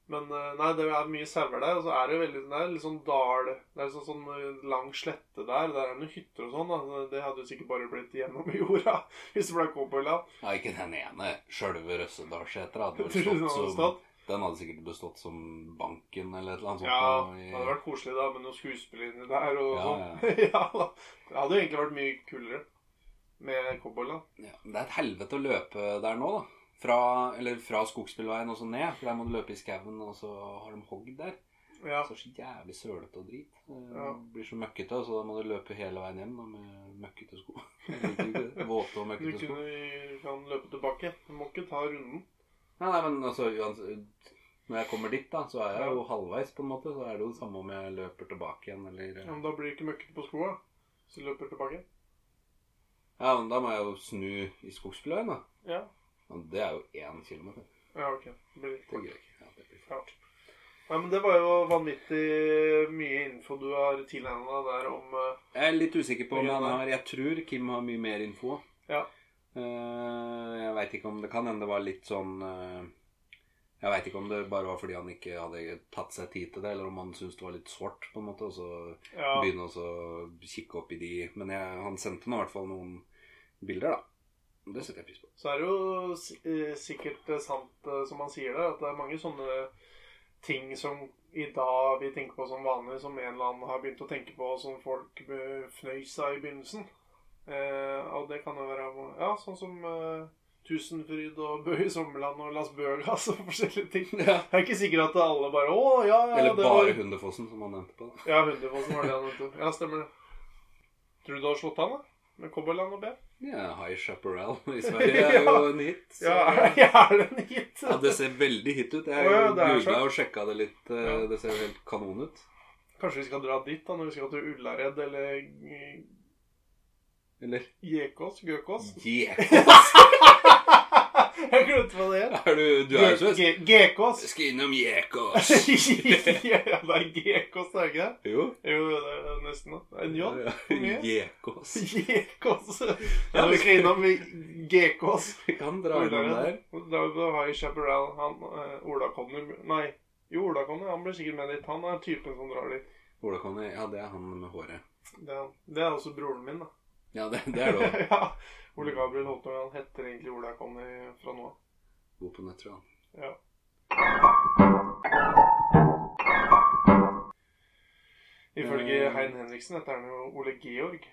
Men eh, nei, det er mye sauer der, og så er det veldig det er litt sånn dal Det er sånn, sånn eh, lang slette der. Der er noen hytter og sånn. da, så Det hadde jo sikkert bare blitt gjennom jorda hvis det ble cowboyland. Nei, ikke den ene. Sjølve Røssedalsetra hadde Tror du vel den hadde stått som stått? Den hadde sikkert bestått som Banken eller et eller annet sånt. Ja, noe i- det hadde vært koselig da, med noen skuespill inni der og Ja, sånn. ja da. Det hadde jo egentlig vært mye kulere med cowboyland. Ja, men det er et helvete å løpe der nå, da. Fra, eller fra skogsbilveien og så ned. For der må du løpe i skauen, og så har de hogg der. Ja. Så er det så jævlig sølete og drit. Det Ja. blir så møkkete, så da må du løpe hele veien hjem da, med møkkete sko. Våte og Du møkkete sko. kunne, vi kan løpe tilbake. Du må ikke ta runden. Nei, nei, men altså uans- Når jeg kommer dit, da, så er jeg jo halvveis, på en måte. Så er det jo det samme om jeg løper tilbake igjen, eller Ja, men da blir det ikke møkkete på skoa. Så du løper tilbake. Ja, men da må jeg jo snu i skogsbilveien, da. Ja. Men det er jo én kilometer. Ja, ok. Det blir litt Det greier jeg ikke. Ja, det blir Ja. Nei, men det var jo vanvittig mye info du har tilegna deg der om eh, Jeg er litt usikker på om Ok, han nei. har Jeg tror Kim har mye mer info. Ja. Eh, jeg veit ikke om det kan hende det var litt sånn eh, Jeg veit ikke om det bare var fordi han ikke hadde tatt seg tid til det, eller om han syntes det var litt sårt, på en måte, og så ja, begynne å så kikke opp i de Men jeg, han sendte nå i hvert fall noen bilder, da. Det setter jeg pris på. Så er det jo si- eh, sikkert eh, sant eh, som han sier der, at det er mange sånne ting som i dag vi tenker på som vanlig, som en eller annen har begynt å tenke på, som folk eh, fnøys av i begynnelsen. Eh, og det kan jo være ja, sånn som eh, Tusenfryd og Bø i Sommerland og Las Bøgas og forskjellige ting. Det er ikke sikkert at alle bare Å, ja, ja, Eller det bare var Hundefossen, som han nevnte på. Da. Ja, Hundefossen var det han het. Ja, stemmer det. Tror du du har slått han, da? Med Cowboyland og B? Ja, High Chaparral i Sverige er jo en hit. så- Ja, er det en hit? Ja, det ser veldig hit ut. Jeg Å ja, det er googla svært. og sjekka det litt. eh, Ja. Det ser jo helt kanon ut. Kanskje vi skal dra dit, da, når vi skal til Ullared eller eh, Eller Gjekås? Gøkås? Jekås! Jeg glemte hva det het. Er Mm. du, du er jo så Ge- Gekås. Skal innom Jekås. ja, det er Gekås, det er ikke det? Jo. Jo, det er nesten det. En J? for mye. Jekås. Gekås. Ja, vi skal innom Gekås. Vi kan dra innom der. Da har jeg Chaparral. Han, eh, Ola Conny Nei, jo, Ola Conny. Han blir sikkert med dit. Han er typen som drar dit. Ola Conny, ja, det er han med håret. Det er, han. det er også broren min, da. Ja, det, det er det også. ja. Ole Gabriel Holtøy. Han heter egentlig Ola Conny fra nå av. God på nett, tror jeg. han. Ja. Ifølge Eh. Hein Henriksen heter han jo Ole Georg.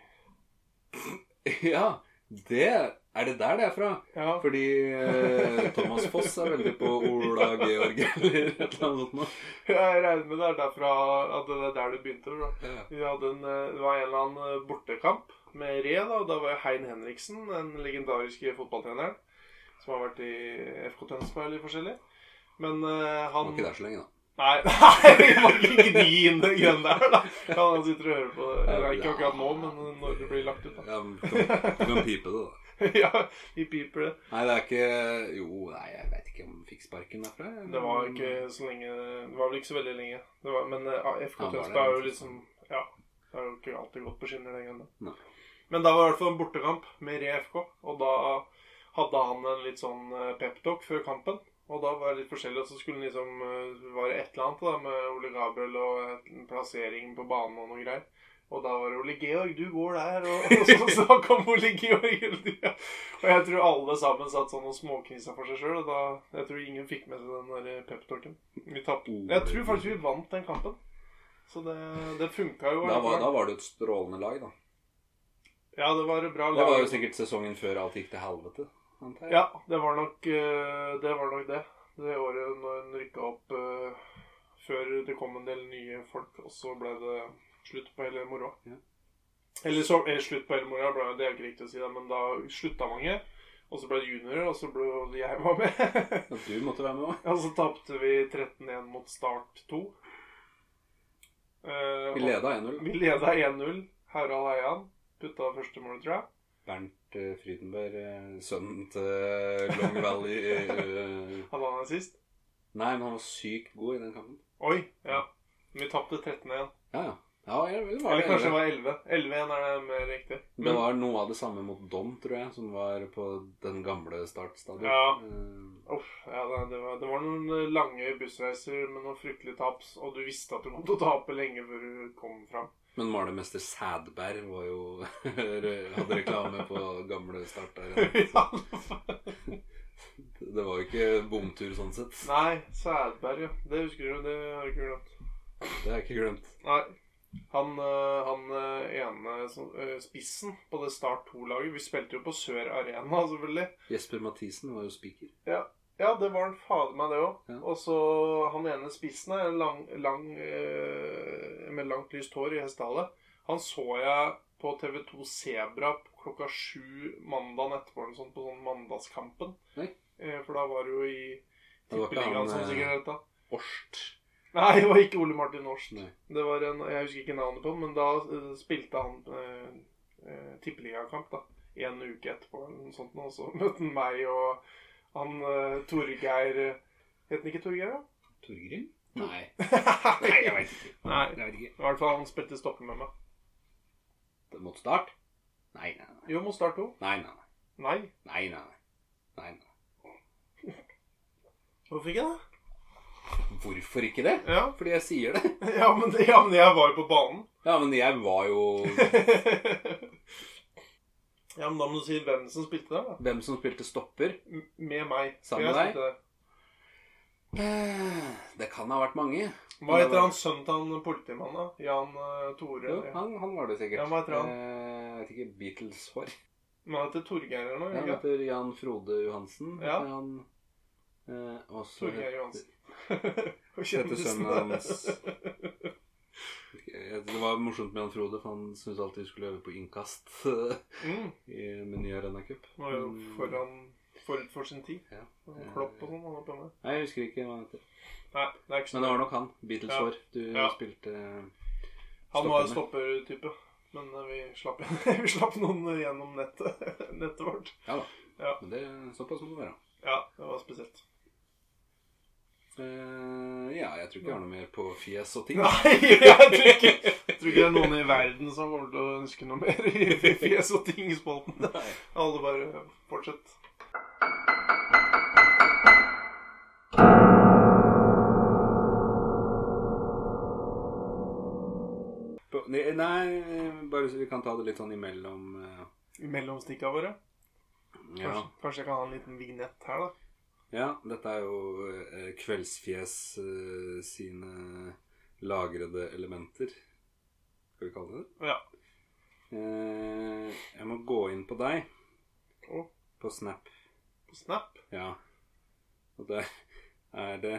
Ja, det Er det der det er fra? Ja, Fordi eh, Thomas Foss er veldig på Ola Georg eller et eller annet sånt noe. jeg regner med det er derfra at det er der du begynte. Bro. Ja. Vi hadde en, eh, det var en eller annen eh, bortekamp med Re, da, og da var Hein Henriksen, den legendariske fotballtreneren, som har vært i FK Tønsberg eller forskjellig. Men eh, Han var han ikke der så lenge, da. Nei, nei, vi må ikke gni inn den greien der, da. Ja, han sitter og hører på det. Eller, ikke akkurat nå, men når det blir lagt ut, da. Ja, men du kan, du kan pipe det, da. Ja, vi piper det. Nei, det er ikke Jo, nei, jeg veit ikke om fikk sparken derfra. jeg. Det var ikke så lenge Det var vel ikke så veldig lenge. Det var, men eh, FK Han var Tønsberg der, er jo liksom Ja. Det har jo ikke alltid gått på skinner den gangen. Nei. da. Men da var det i hvert fall en bortekamp med Re FK, og da hadde han en litt sånn eh, peptalk før kampen. Og da var det litt forskjellig, og så skulle han liksom eh, Var det et eller annet da med Ole Gabriel og et- en plassering på banen og noe greier. Og da var det Ole Georg, du går der, og, og så snakk om Ole Georg hele tida. Og jeg tror alle sammen satt sånn og småknisa for seg sjøl, og da Jeg tror ingen fikk med seg den der eh, peptalken. Vi tapte. Jeg tror faktisk vi vant den kampen. Så det, det funka jo. da var, allikevel. da var det jo et strålende lag, da. Ja, det var et bra Det lag. var jo sikkert sesongen før alt gikk til helvete. antar jeg. Ja, det var nok eh, det. Var nok det. det året når en rykka opp eh, før det kom en del nye folk, og så ble det slutt på hele moroa. Ja. Eller så eller slutt på hele moroa, ble- det er jo ikke riktig å si, det, men da slutta mange. Og så ble det juniorer, og så ble og jeg var med. Ja, Du måtte være med òg. og så tapte vi 13-1 mot Start 2. Eh, Vi og- leda 1-0. Vi leda 1-0. Harald Heian putta første målet, tror jeg. Bernt eh, Frydenberg, eh, sønnen til Long Valley eh, Hadde han en sist? Nei, men han var sykt god i den kampen. Oi, ja. Men vi tapte 13-1. Ja, ja. ja jeg, det, var Eller kanskje det det, var 11. 11-1 er det mer riktig. det Men var noe av det samme mot Dom, tror jeg, som var på den gamle startstadion. Ja. Eh, uff, ja, det, det, var, det var noen eh, lange bussreiser med noen fryktelige taps, og du visste at du kom til å tape lenge før du kom fram. Men malermester Sædberg var jo Hadde reklame på gamle start der. Ja. Det Det var jo ikke bomtur sånn sett. Nei, Sædberg, ja. Det husker du, det har jeg ikke glemt. Det er ikke glemt. Nei. Han, eh, han eh, ene som- eh, spissen på det Start 2-laget Vi spilte jo på Sør Arena, selvfølgelig. Jesper Mathisen var jo spiker. Ja, det var han fader meg, det òg. Ja. Og så han ene spissen her, en lang, lang, eh, med langt lyst hår i hestehale, han så jeg på TV2 Sebra klokka sju mandagen etterpå, eller sånt, på sånn Mandagskampen. Nei. Eh, for da var det jo i Det var ikke han, Tippeligaen som eh, sikkert het da. Årst. Nei, det var ikke Ole Martin Norst. Nei. Det var en, Jeg husker ikke navnet på han, men da eh, spilte han eh, eh, tippeligakamp da, en uke etterpå. eller noe sånt, nå, Og så møtte han meg og han eh, Torgeir eh, Het han ikke Torgeir, da? Torgrim? Nei. Nei, Nei, jeg veit ikke. Nei. Jeg vet ikke. I hvert fall han spilte stopper med meg. Det måtte start? Nei, nei, nei. Jo, mot Start 2. Nei, nei, nei. Nei. Nei, nei, nei. nei, nei. Hvorfor ikke det? Hvorfor ikke det? Ja, Fordi jeg sier det. ja, men, ja men jeg var jo på banen. Ja, men jeg var jo ja, men da må du si hvem som spilte der, da. Hvem som spilte stopper? M med meg. Sammen Jeg med deg? spilte der. Det kan ha vært mange. Hva heter han sønnen til han politimannen, da? Jan eh, Tore? Jo, ja. han, han var det sikkert. Ja, hva heter han? Eh, jeg vet ikke. Beatles-hår. Men han heter Torgeir eller noe? Ja, Han ikke? heter Jan Frode Johansen. Ja. heter Han, eh, og så Torgeir heter- Johansen. Og heter kjendisen. sønnen hans Jeg- Det var morsomt med Jan Frode, for han syntes alltid vi skulle øve på innkast eh, mm, i med ny Arena Cup. var jo Men- foran, forut for sin tid. Mm. Ja. Og Klopp og sånn. han var på med. Nei, jeg husker ikke hva han heter. Nei, det er ikke Men sånn. det var nok han. Beatles-hår. Du Ja. spilte Han var stopperne. stoppertype. Men eh, vi slapp, vi slapp noen gjennom nettet, nettet vårt. Ja da. Ja. Men det er såpass må det være. Ja, det var spesielt. Eh, ja, jeg tror ikke jeg har noe mer på fjes og ting. Nei, jeg tror ikke, jeg tror ikke det er noen i verden som kommer til å ønske noe mer i fjes og ting-spalten. Nei. Alle bare fortsett. På- Nei, nei, bare så vi kan ta det litt sånn imellom eh, I mellomstikka våre. Ja. Kanskje, kanskje jeg kan ha en liten vignett her, da. Ja, dette er jo eh, Kveldsfjes eh, sine lagrede elementer. Skal vi kalle det det? Ja. Eh, jeg må gå inn på deg. Å. På Snap. På Snap. Ja. Og der er det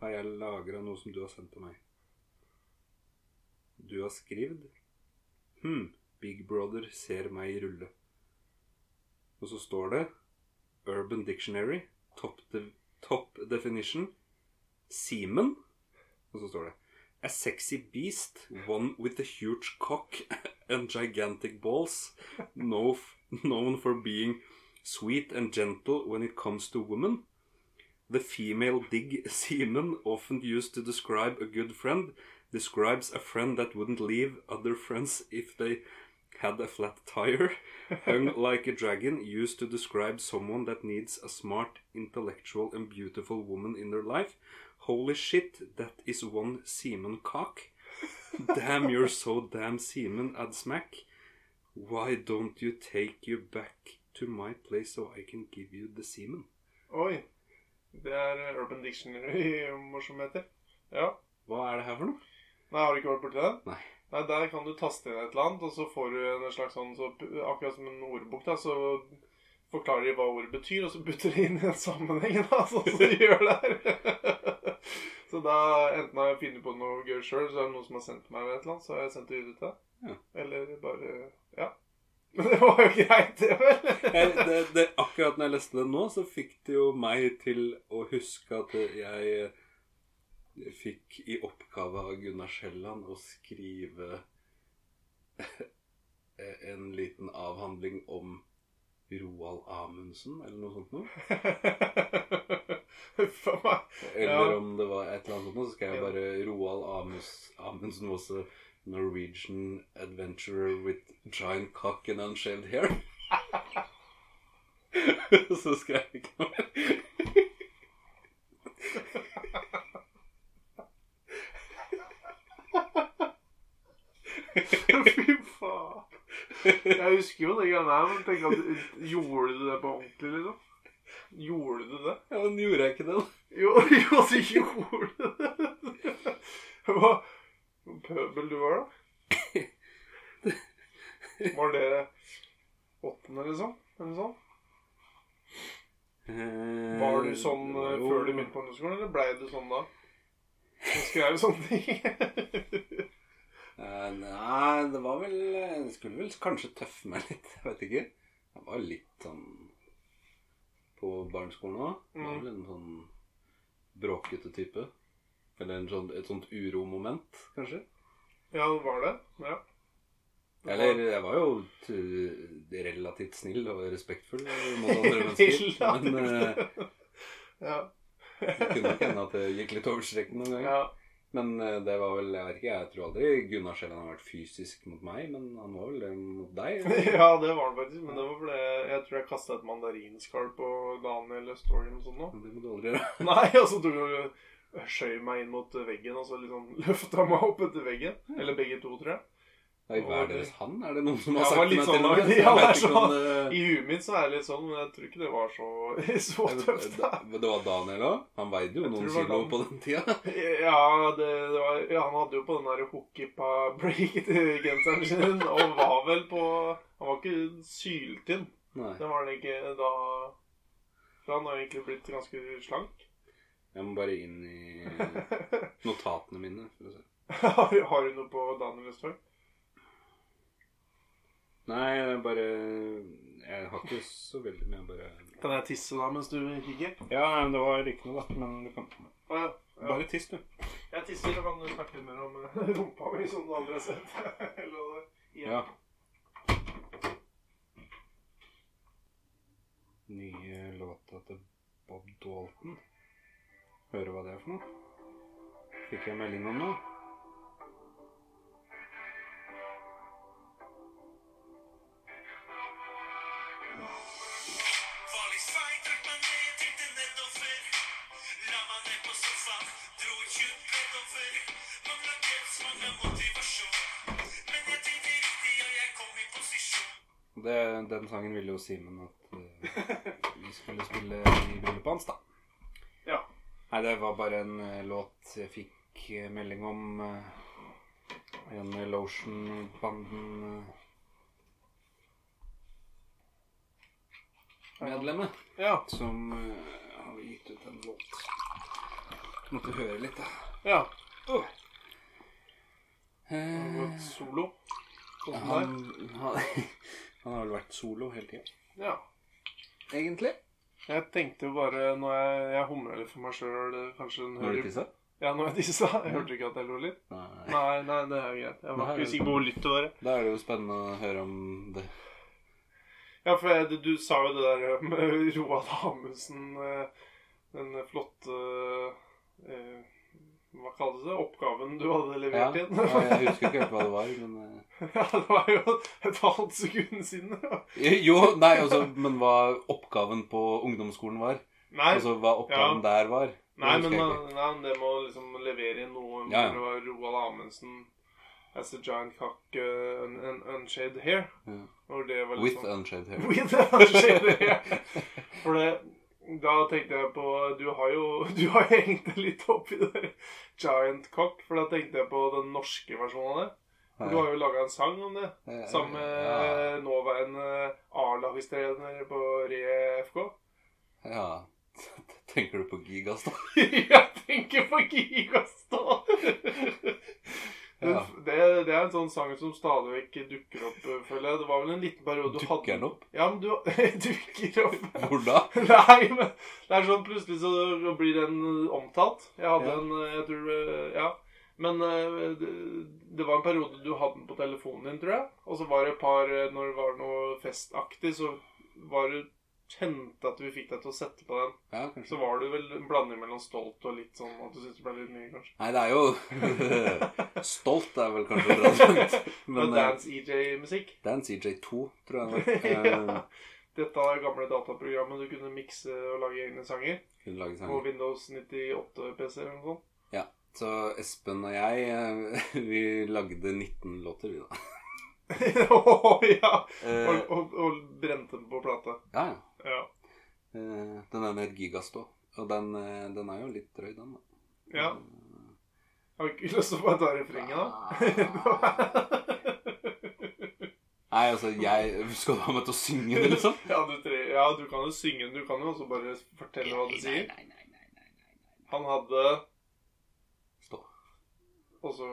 Har jeg lagra noe som du har sendt til meg? Du har skrevet Hm. Big Brother ser meg rulle. Og så står det Urban Dictionary. Top, de top definition. Semen. Og så står det A sexy beast, one with a huge cock and gigantic balls, no f known for being sweet and gentle when it comes to women. The female dig semen, often used to describe a good friend, describes a friend that wouldn't leave other friends if they had a flat tire. Hung like a dragon, used to describe someone that needs a smart, intellectual, and beautiful woman in their life. Holy shit, that is one semen cock. Damn, you're so damn semen, ad smack. Why don't you take you back to my place so I can give you the semen? Oi. Det er eh, Urban Dictionary-morsomheter. Ja. Hva er det her for noe? Nei, har du ikke vært borti den? Nei. Nei, Der kan du taste inn et eller annet, og så får du en slags sånn så, Akkurat som en ordbok, da, så forklarer de hva ordet betyr, og så putter de inn i en sammenheng, da, sånn som de gjør der. så da enten har jeg funnet på noe gøy sjøl, så er det noen som har sendt meg et eller annet, så har jeg sendt det ut til deg. Ja. Eller bare Ja. Men det var jo greit, det, vel? Jeg, Eh, det, det, akkurat når jeg leste det nå, så fikk det jo meg til å huske at jeg eh, fikk i oppgave av Gunnar Sjelland å skrive eh, en liten avhandling om Roald Amundsen, eller noe sånt noe. Huff a meg. Eller Ja. om det var et eller annet sånt, så skal jeg Ja. bare Roald Amus- Amundsen was a Norwegian adventurer with giant cock and unshaved hair. så skrev jeg ikke noe mer. Fy faen. Jeg husker jo det greiene her, men tenk at du- gjorde du det på ordentlig, liksom? Gjorde du det? Ja, men gjorde jeg ikke det, da? Jo, jo du gjorde det! Hva pøbel du var, da? Var det åttende, liksom? Eller noe sånt? Eh, Var du sånn det eh, var jo- før du begynte på ungdomsskolen, eller blei du sånn da? Du skrev sånne ting. Eh, Nei, det var vel Jeg skulle vel kanskje tøffe meg litt. Jeg vet ikke. Jeg var litt sånn på barneskolen òg. Var Mm. vel en sånn bråkete type. Eller en sånn, et sånt uromoment, kanskje. ja, var det? Ja. Eller jeg var jo t- relativt snill og respektfull mot andre mennesker. Men eh, Relativt. Ja. det kunne nok hende at det gikk litt over streken noen ganger. ja. Men eh, det var vel Jeg vet ikke, jeg tror aldri Gunnar Sjælland har vært fysisk mot meg, men han var vel det mot deg. Ja, det var det faktisk. Men det var fordi jeg tror jeg kasta et mandarinskall på Daniel Story eller noe sånt nå. Det må du aldri gjøre. Nei, og så tok jeg og skjøv meg inn mot veggen, og så liksom løfta meg opp etter veggen. Eller begge to, tror jeg. Nei, hva er deres han? Er det noen som Ja, har det var sagt litt meg til og sånn, med? Jeg vet ja, det er ikke om eh, det- I huet mitt så er det litt sånn, men jeg tror ikke det var så, så Jeg vet- tøft. da. Det var Daniel òg? Han veide jo Jeg noen tror det var kilo på den tida. Ja, det, det var, ja, han hadde jo på den der hookipa-break-genseren sin, og var vel på Han var ikke syltynn. Nei. Det var han ikke da Så han har egentlig blitt ganske slank. Jeg må bare inn i har, notatene mine. For å se. du- har du noe på Daniel Østfold? Nei, jeg bare Jeg har ikke så veldig mye, jeg bare Kan jeg tisse da mens du kikker? Ja, men det var ikke noe, da. Men du kan Å, ja. Ja. Bare tiss, du. Jeg tisser, så kan du snakke litt mer om eh, rumpa mi, som du aldri har sett. Eller, Ja. Nye låta til Bob Dalton. Høre hva det er for noe. Fikk jeg melding om noe? Farlig svein trakk meg ned, tilte nedover. La meg ned på sofaen, dro et tjukt brett over. Mangla kreps, mangla motivasjon. Men jeg tenkte riktig, og jeg kom i posisjon. Det, den sangen ville jo Simen at eh, vi skulle spille i bryllupet hans, da. Ja. Nei, det var bare en eh, låt jeg fikk eh, melding om. eh, en eh, Lotion-banden-medlemme. ja. som eh, har gitt ut en låt. Måtte høre litt, da. ja. Uh. Han har Eh, gått solo. Sånn som han, deg. han, han har vel vært solo hele tida, Ja. egentlig. Jeg tenkte jo bare når jeg, jeg humra litt for meg sjøl Kanskje den hører tissa? Ja, når jeg tissa. Jeg hørte ikke at jeg lo litt. Nei. Nei, nei, det er jo greit. Jeg var Nei. ikke usikker på hvor lytt det var. jeg. Da er det jo spennende å høre om det. Ja, for jeg, du, du sa jo det der med Roald Amundsen eh, Den flotte eh, Hva kalles det? Oppgaven du hadde Ja, levert inn? ja, jeg husker ikke helt hva det var, men eh, Ja, det var jo et halvt sekund siden. ja. Jo, nei, altså, men hva oppgaven på ungdomsskolen var? Nei, Altså hva oppgaven der var? det nei husker men jeg eh, nei, det må liksom levere inn noe. Ja, ja. Det var Roald Amundsen As a giant cock uh, un, un, unshaved hair. Ja. Og det var ikke. With liksom unshaved hair. With unshaved hair. For det da tenkte jeg på Du har jo du har jo hengt deg litt opp i det giant cock, for da tenkte jeg på den norske versjonen av det. Du har jo laga en sang om det. Ja. Sammen med Ja. eh, nåværende A-lagstrener på Re FK. ja. Tenker du på Gigas, da? Jeg tenker på Gigastå! Ja. Det, det er en sånn sang som stadig vekk dukker opp, eh, føler jeg. Det var vel en liten periode du Dukker hadde den opp? Ja, men du dukker opp Hvor da? Nei, men det er sånn plutselig så blir den omtalt. Jeg hadde Ja. en eh, Jeg tror eh, Ja. Men eh, det, det var en periode du hadde den på telefonen din, tror jeg. Og så var det et par eh, Når det var noe festaktig, så var det Hendte at vi fikk deg til å sette på den. Ja, kanskje. Så var det vel en blanding mellom stolt og litt sånn at du syntes det ble litt mye, kanskje. Nei, det er jo Stolt er vel kanskje bra sagt. Men Men eh, dance E EJ-musikk. det er en CJ2, tror jeg. det var. Eh, ja. Dette er gamle dataprogrammet du kunne mikse og lage egne sanger. Kunne lage På sanger. Windows 98-PC eller noe sånt. Så Espen og jeg, eh, vi lagde 19 låter, vi, da. Å, ja. Eh, Og, og, og brente den på plate. Ja, ja. Ja. Eh, Eh, Den er med et gigastå. Og den, eh, den er jo litt drøy, den. da. Ja. Har du ikke lyst til å bare ta refrenget, da? Ah. Nei, altså, jeg Skal du ha meg til å synge det, liksom? ja, du tre, ja, du kan jo synge den. Du kan jo også bare fortelle hva du sier. Nei, nei, nei, nei, nei, nei. Han hadde Stå. Og så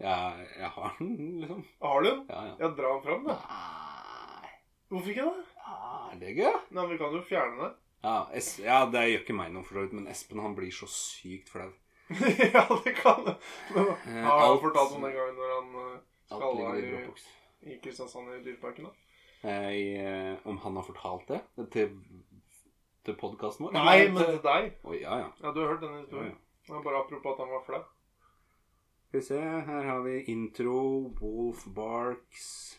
Jeg, jeg har den, liksom. Har du den? Ja, ja. Ja, dra den fram, da. Nei. Hvorfor ikke det? Ah, Er det gøy? Nei, men Vi kan jo fjerne det. Ja, es ja, det gjør ikke meg noe, for så vidt, men Espen han blir så sykt flau. ja, det kan det. Men, Eh, ja, jeg har alt- fortalt om den gangen når han eh, Alt skalla ligger i i, Dropbox. i Kristiansand i Dyreparken. da. Eh, i, eh, om han har fortalt det til, til podkasten vår? Nei, men til deg. Å, ja, ja. Ja, Du har hørt denne ja, ja. historien. Ja, bare apropos at han var flau. Skal vi se, her har vi intro, Wolf Barks,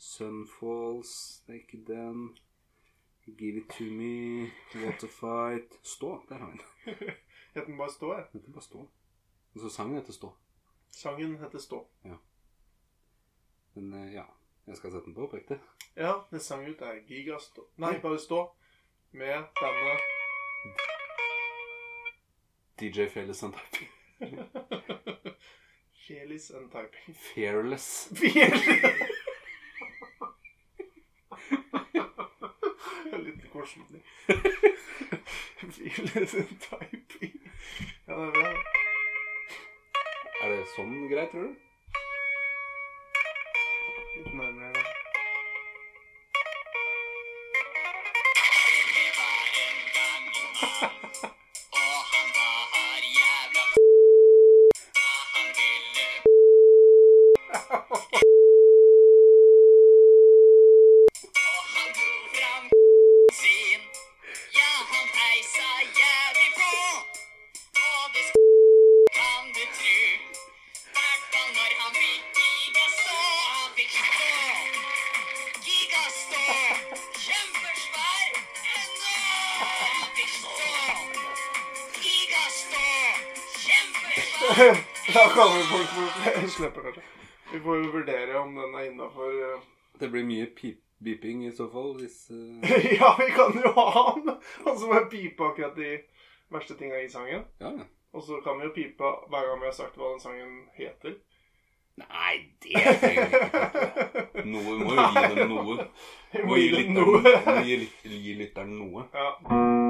Sunfalls, det er ikke den. Give it to me, What a fight. Stå, der har vi den. Het den bare Stå, jeg. Den heter bare Stå. Og så sangen heter Stå. Sangen heter Stå. Men eh, ja, jeg skal sette den på på ekte. Ja, det sang ut er Gigastå. Nei, bare Stå. Med denne DJ Fearless and Typing. Felis and Typing. Fearless. Litt koselig. Felis and Typing. Ja, det er bra. Er det sånn greit, tror du? Litt nærmere. da. Kjempesvær! Enorm! Fikk stå! Gigastå! Kjempesvær! Da kan vi folk få slippe, kanskje. Vi får jo vurdere om den er innafor eh, Det blir mye pip beeping i så fall, hvis eh, Ja, vi kan jo ha han! Han som er pipa akkurat de verste tinga i sangen. Ja, ja. Og så kan vi jo pipe hver gang vi har sagt hva den sangen heter. Nei, det trenger vi ikke. Noe, vi må jo gi dem noe. Vi Vi må gi den lytteren- noe. vi må gi lyt- gi lytteren noe. Ja.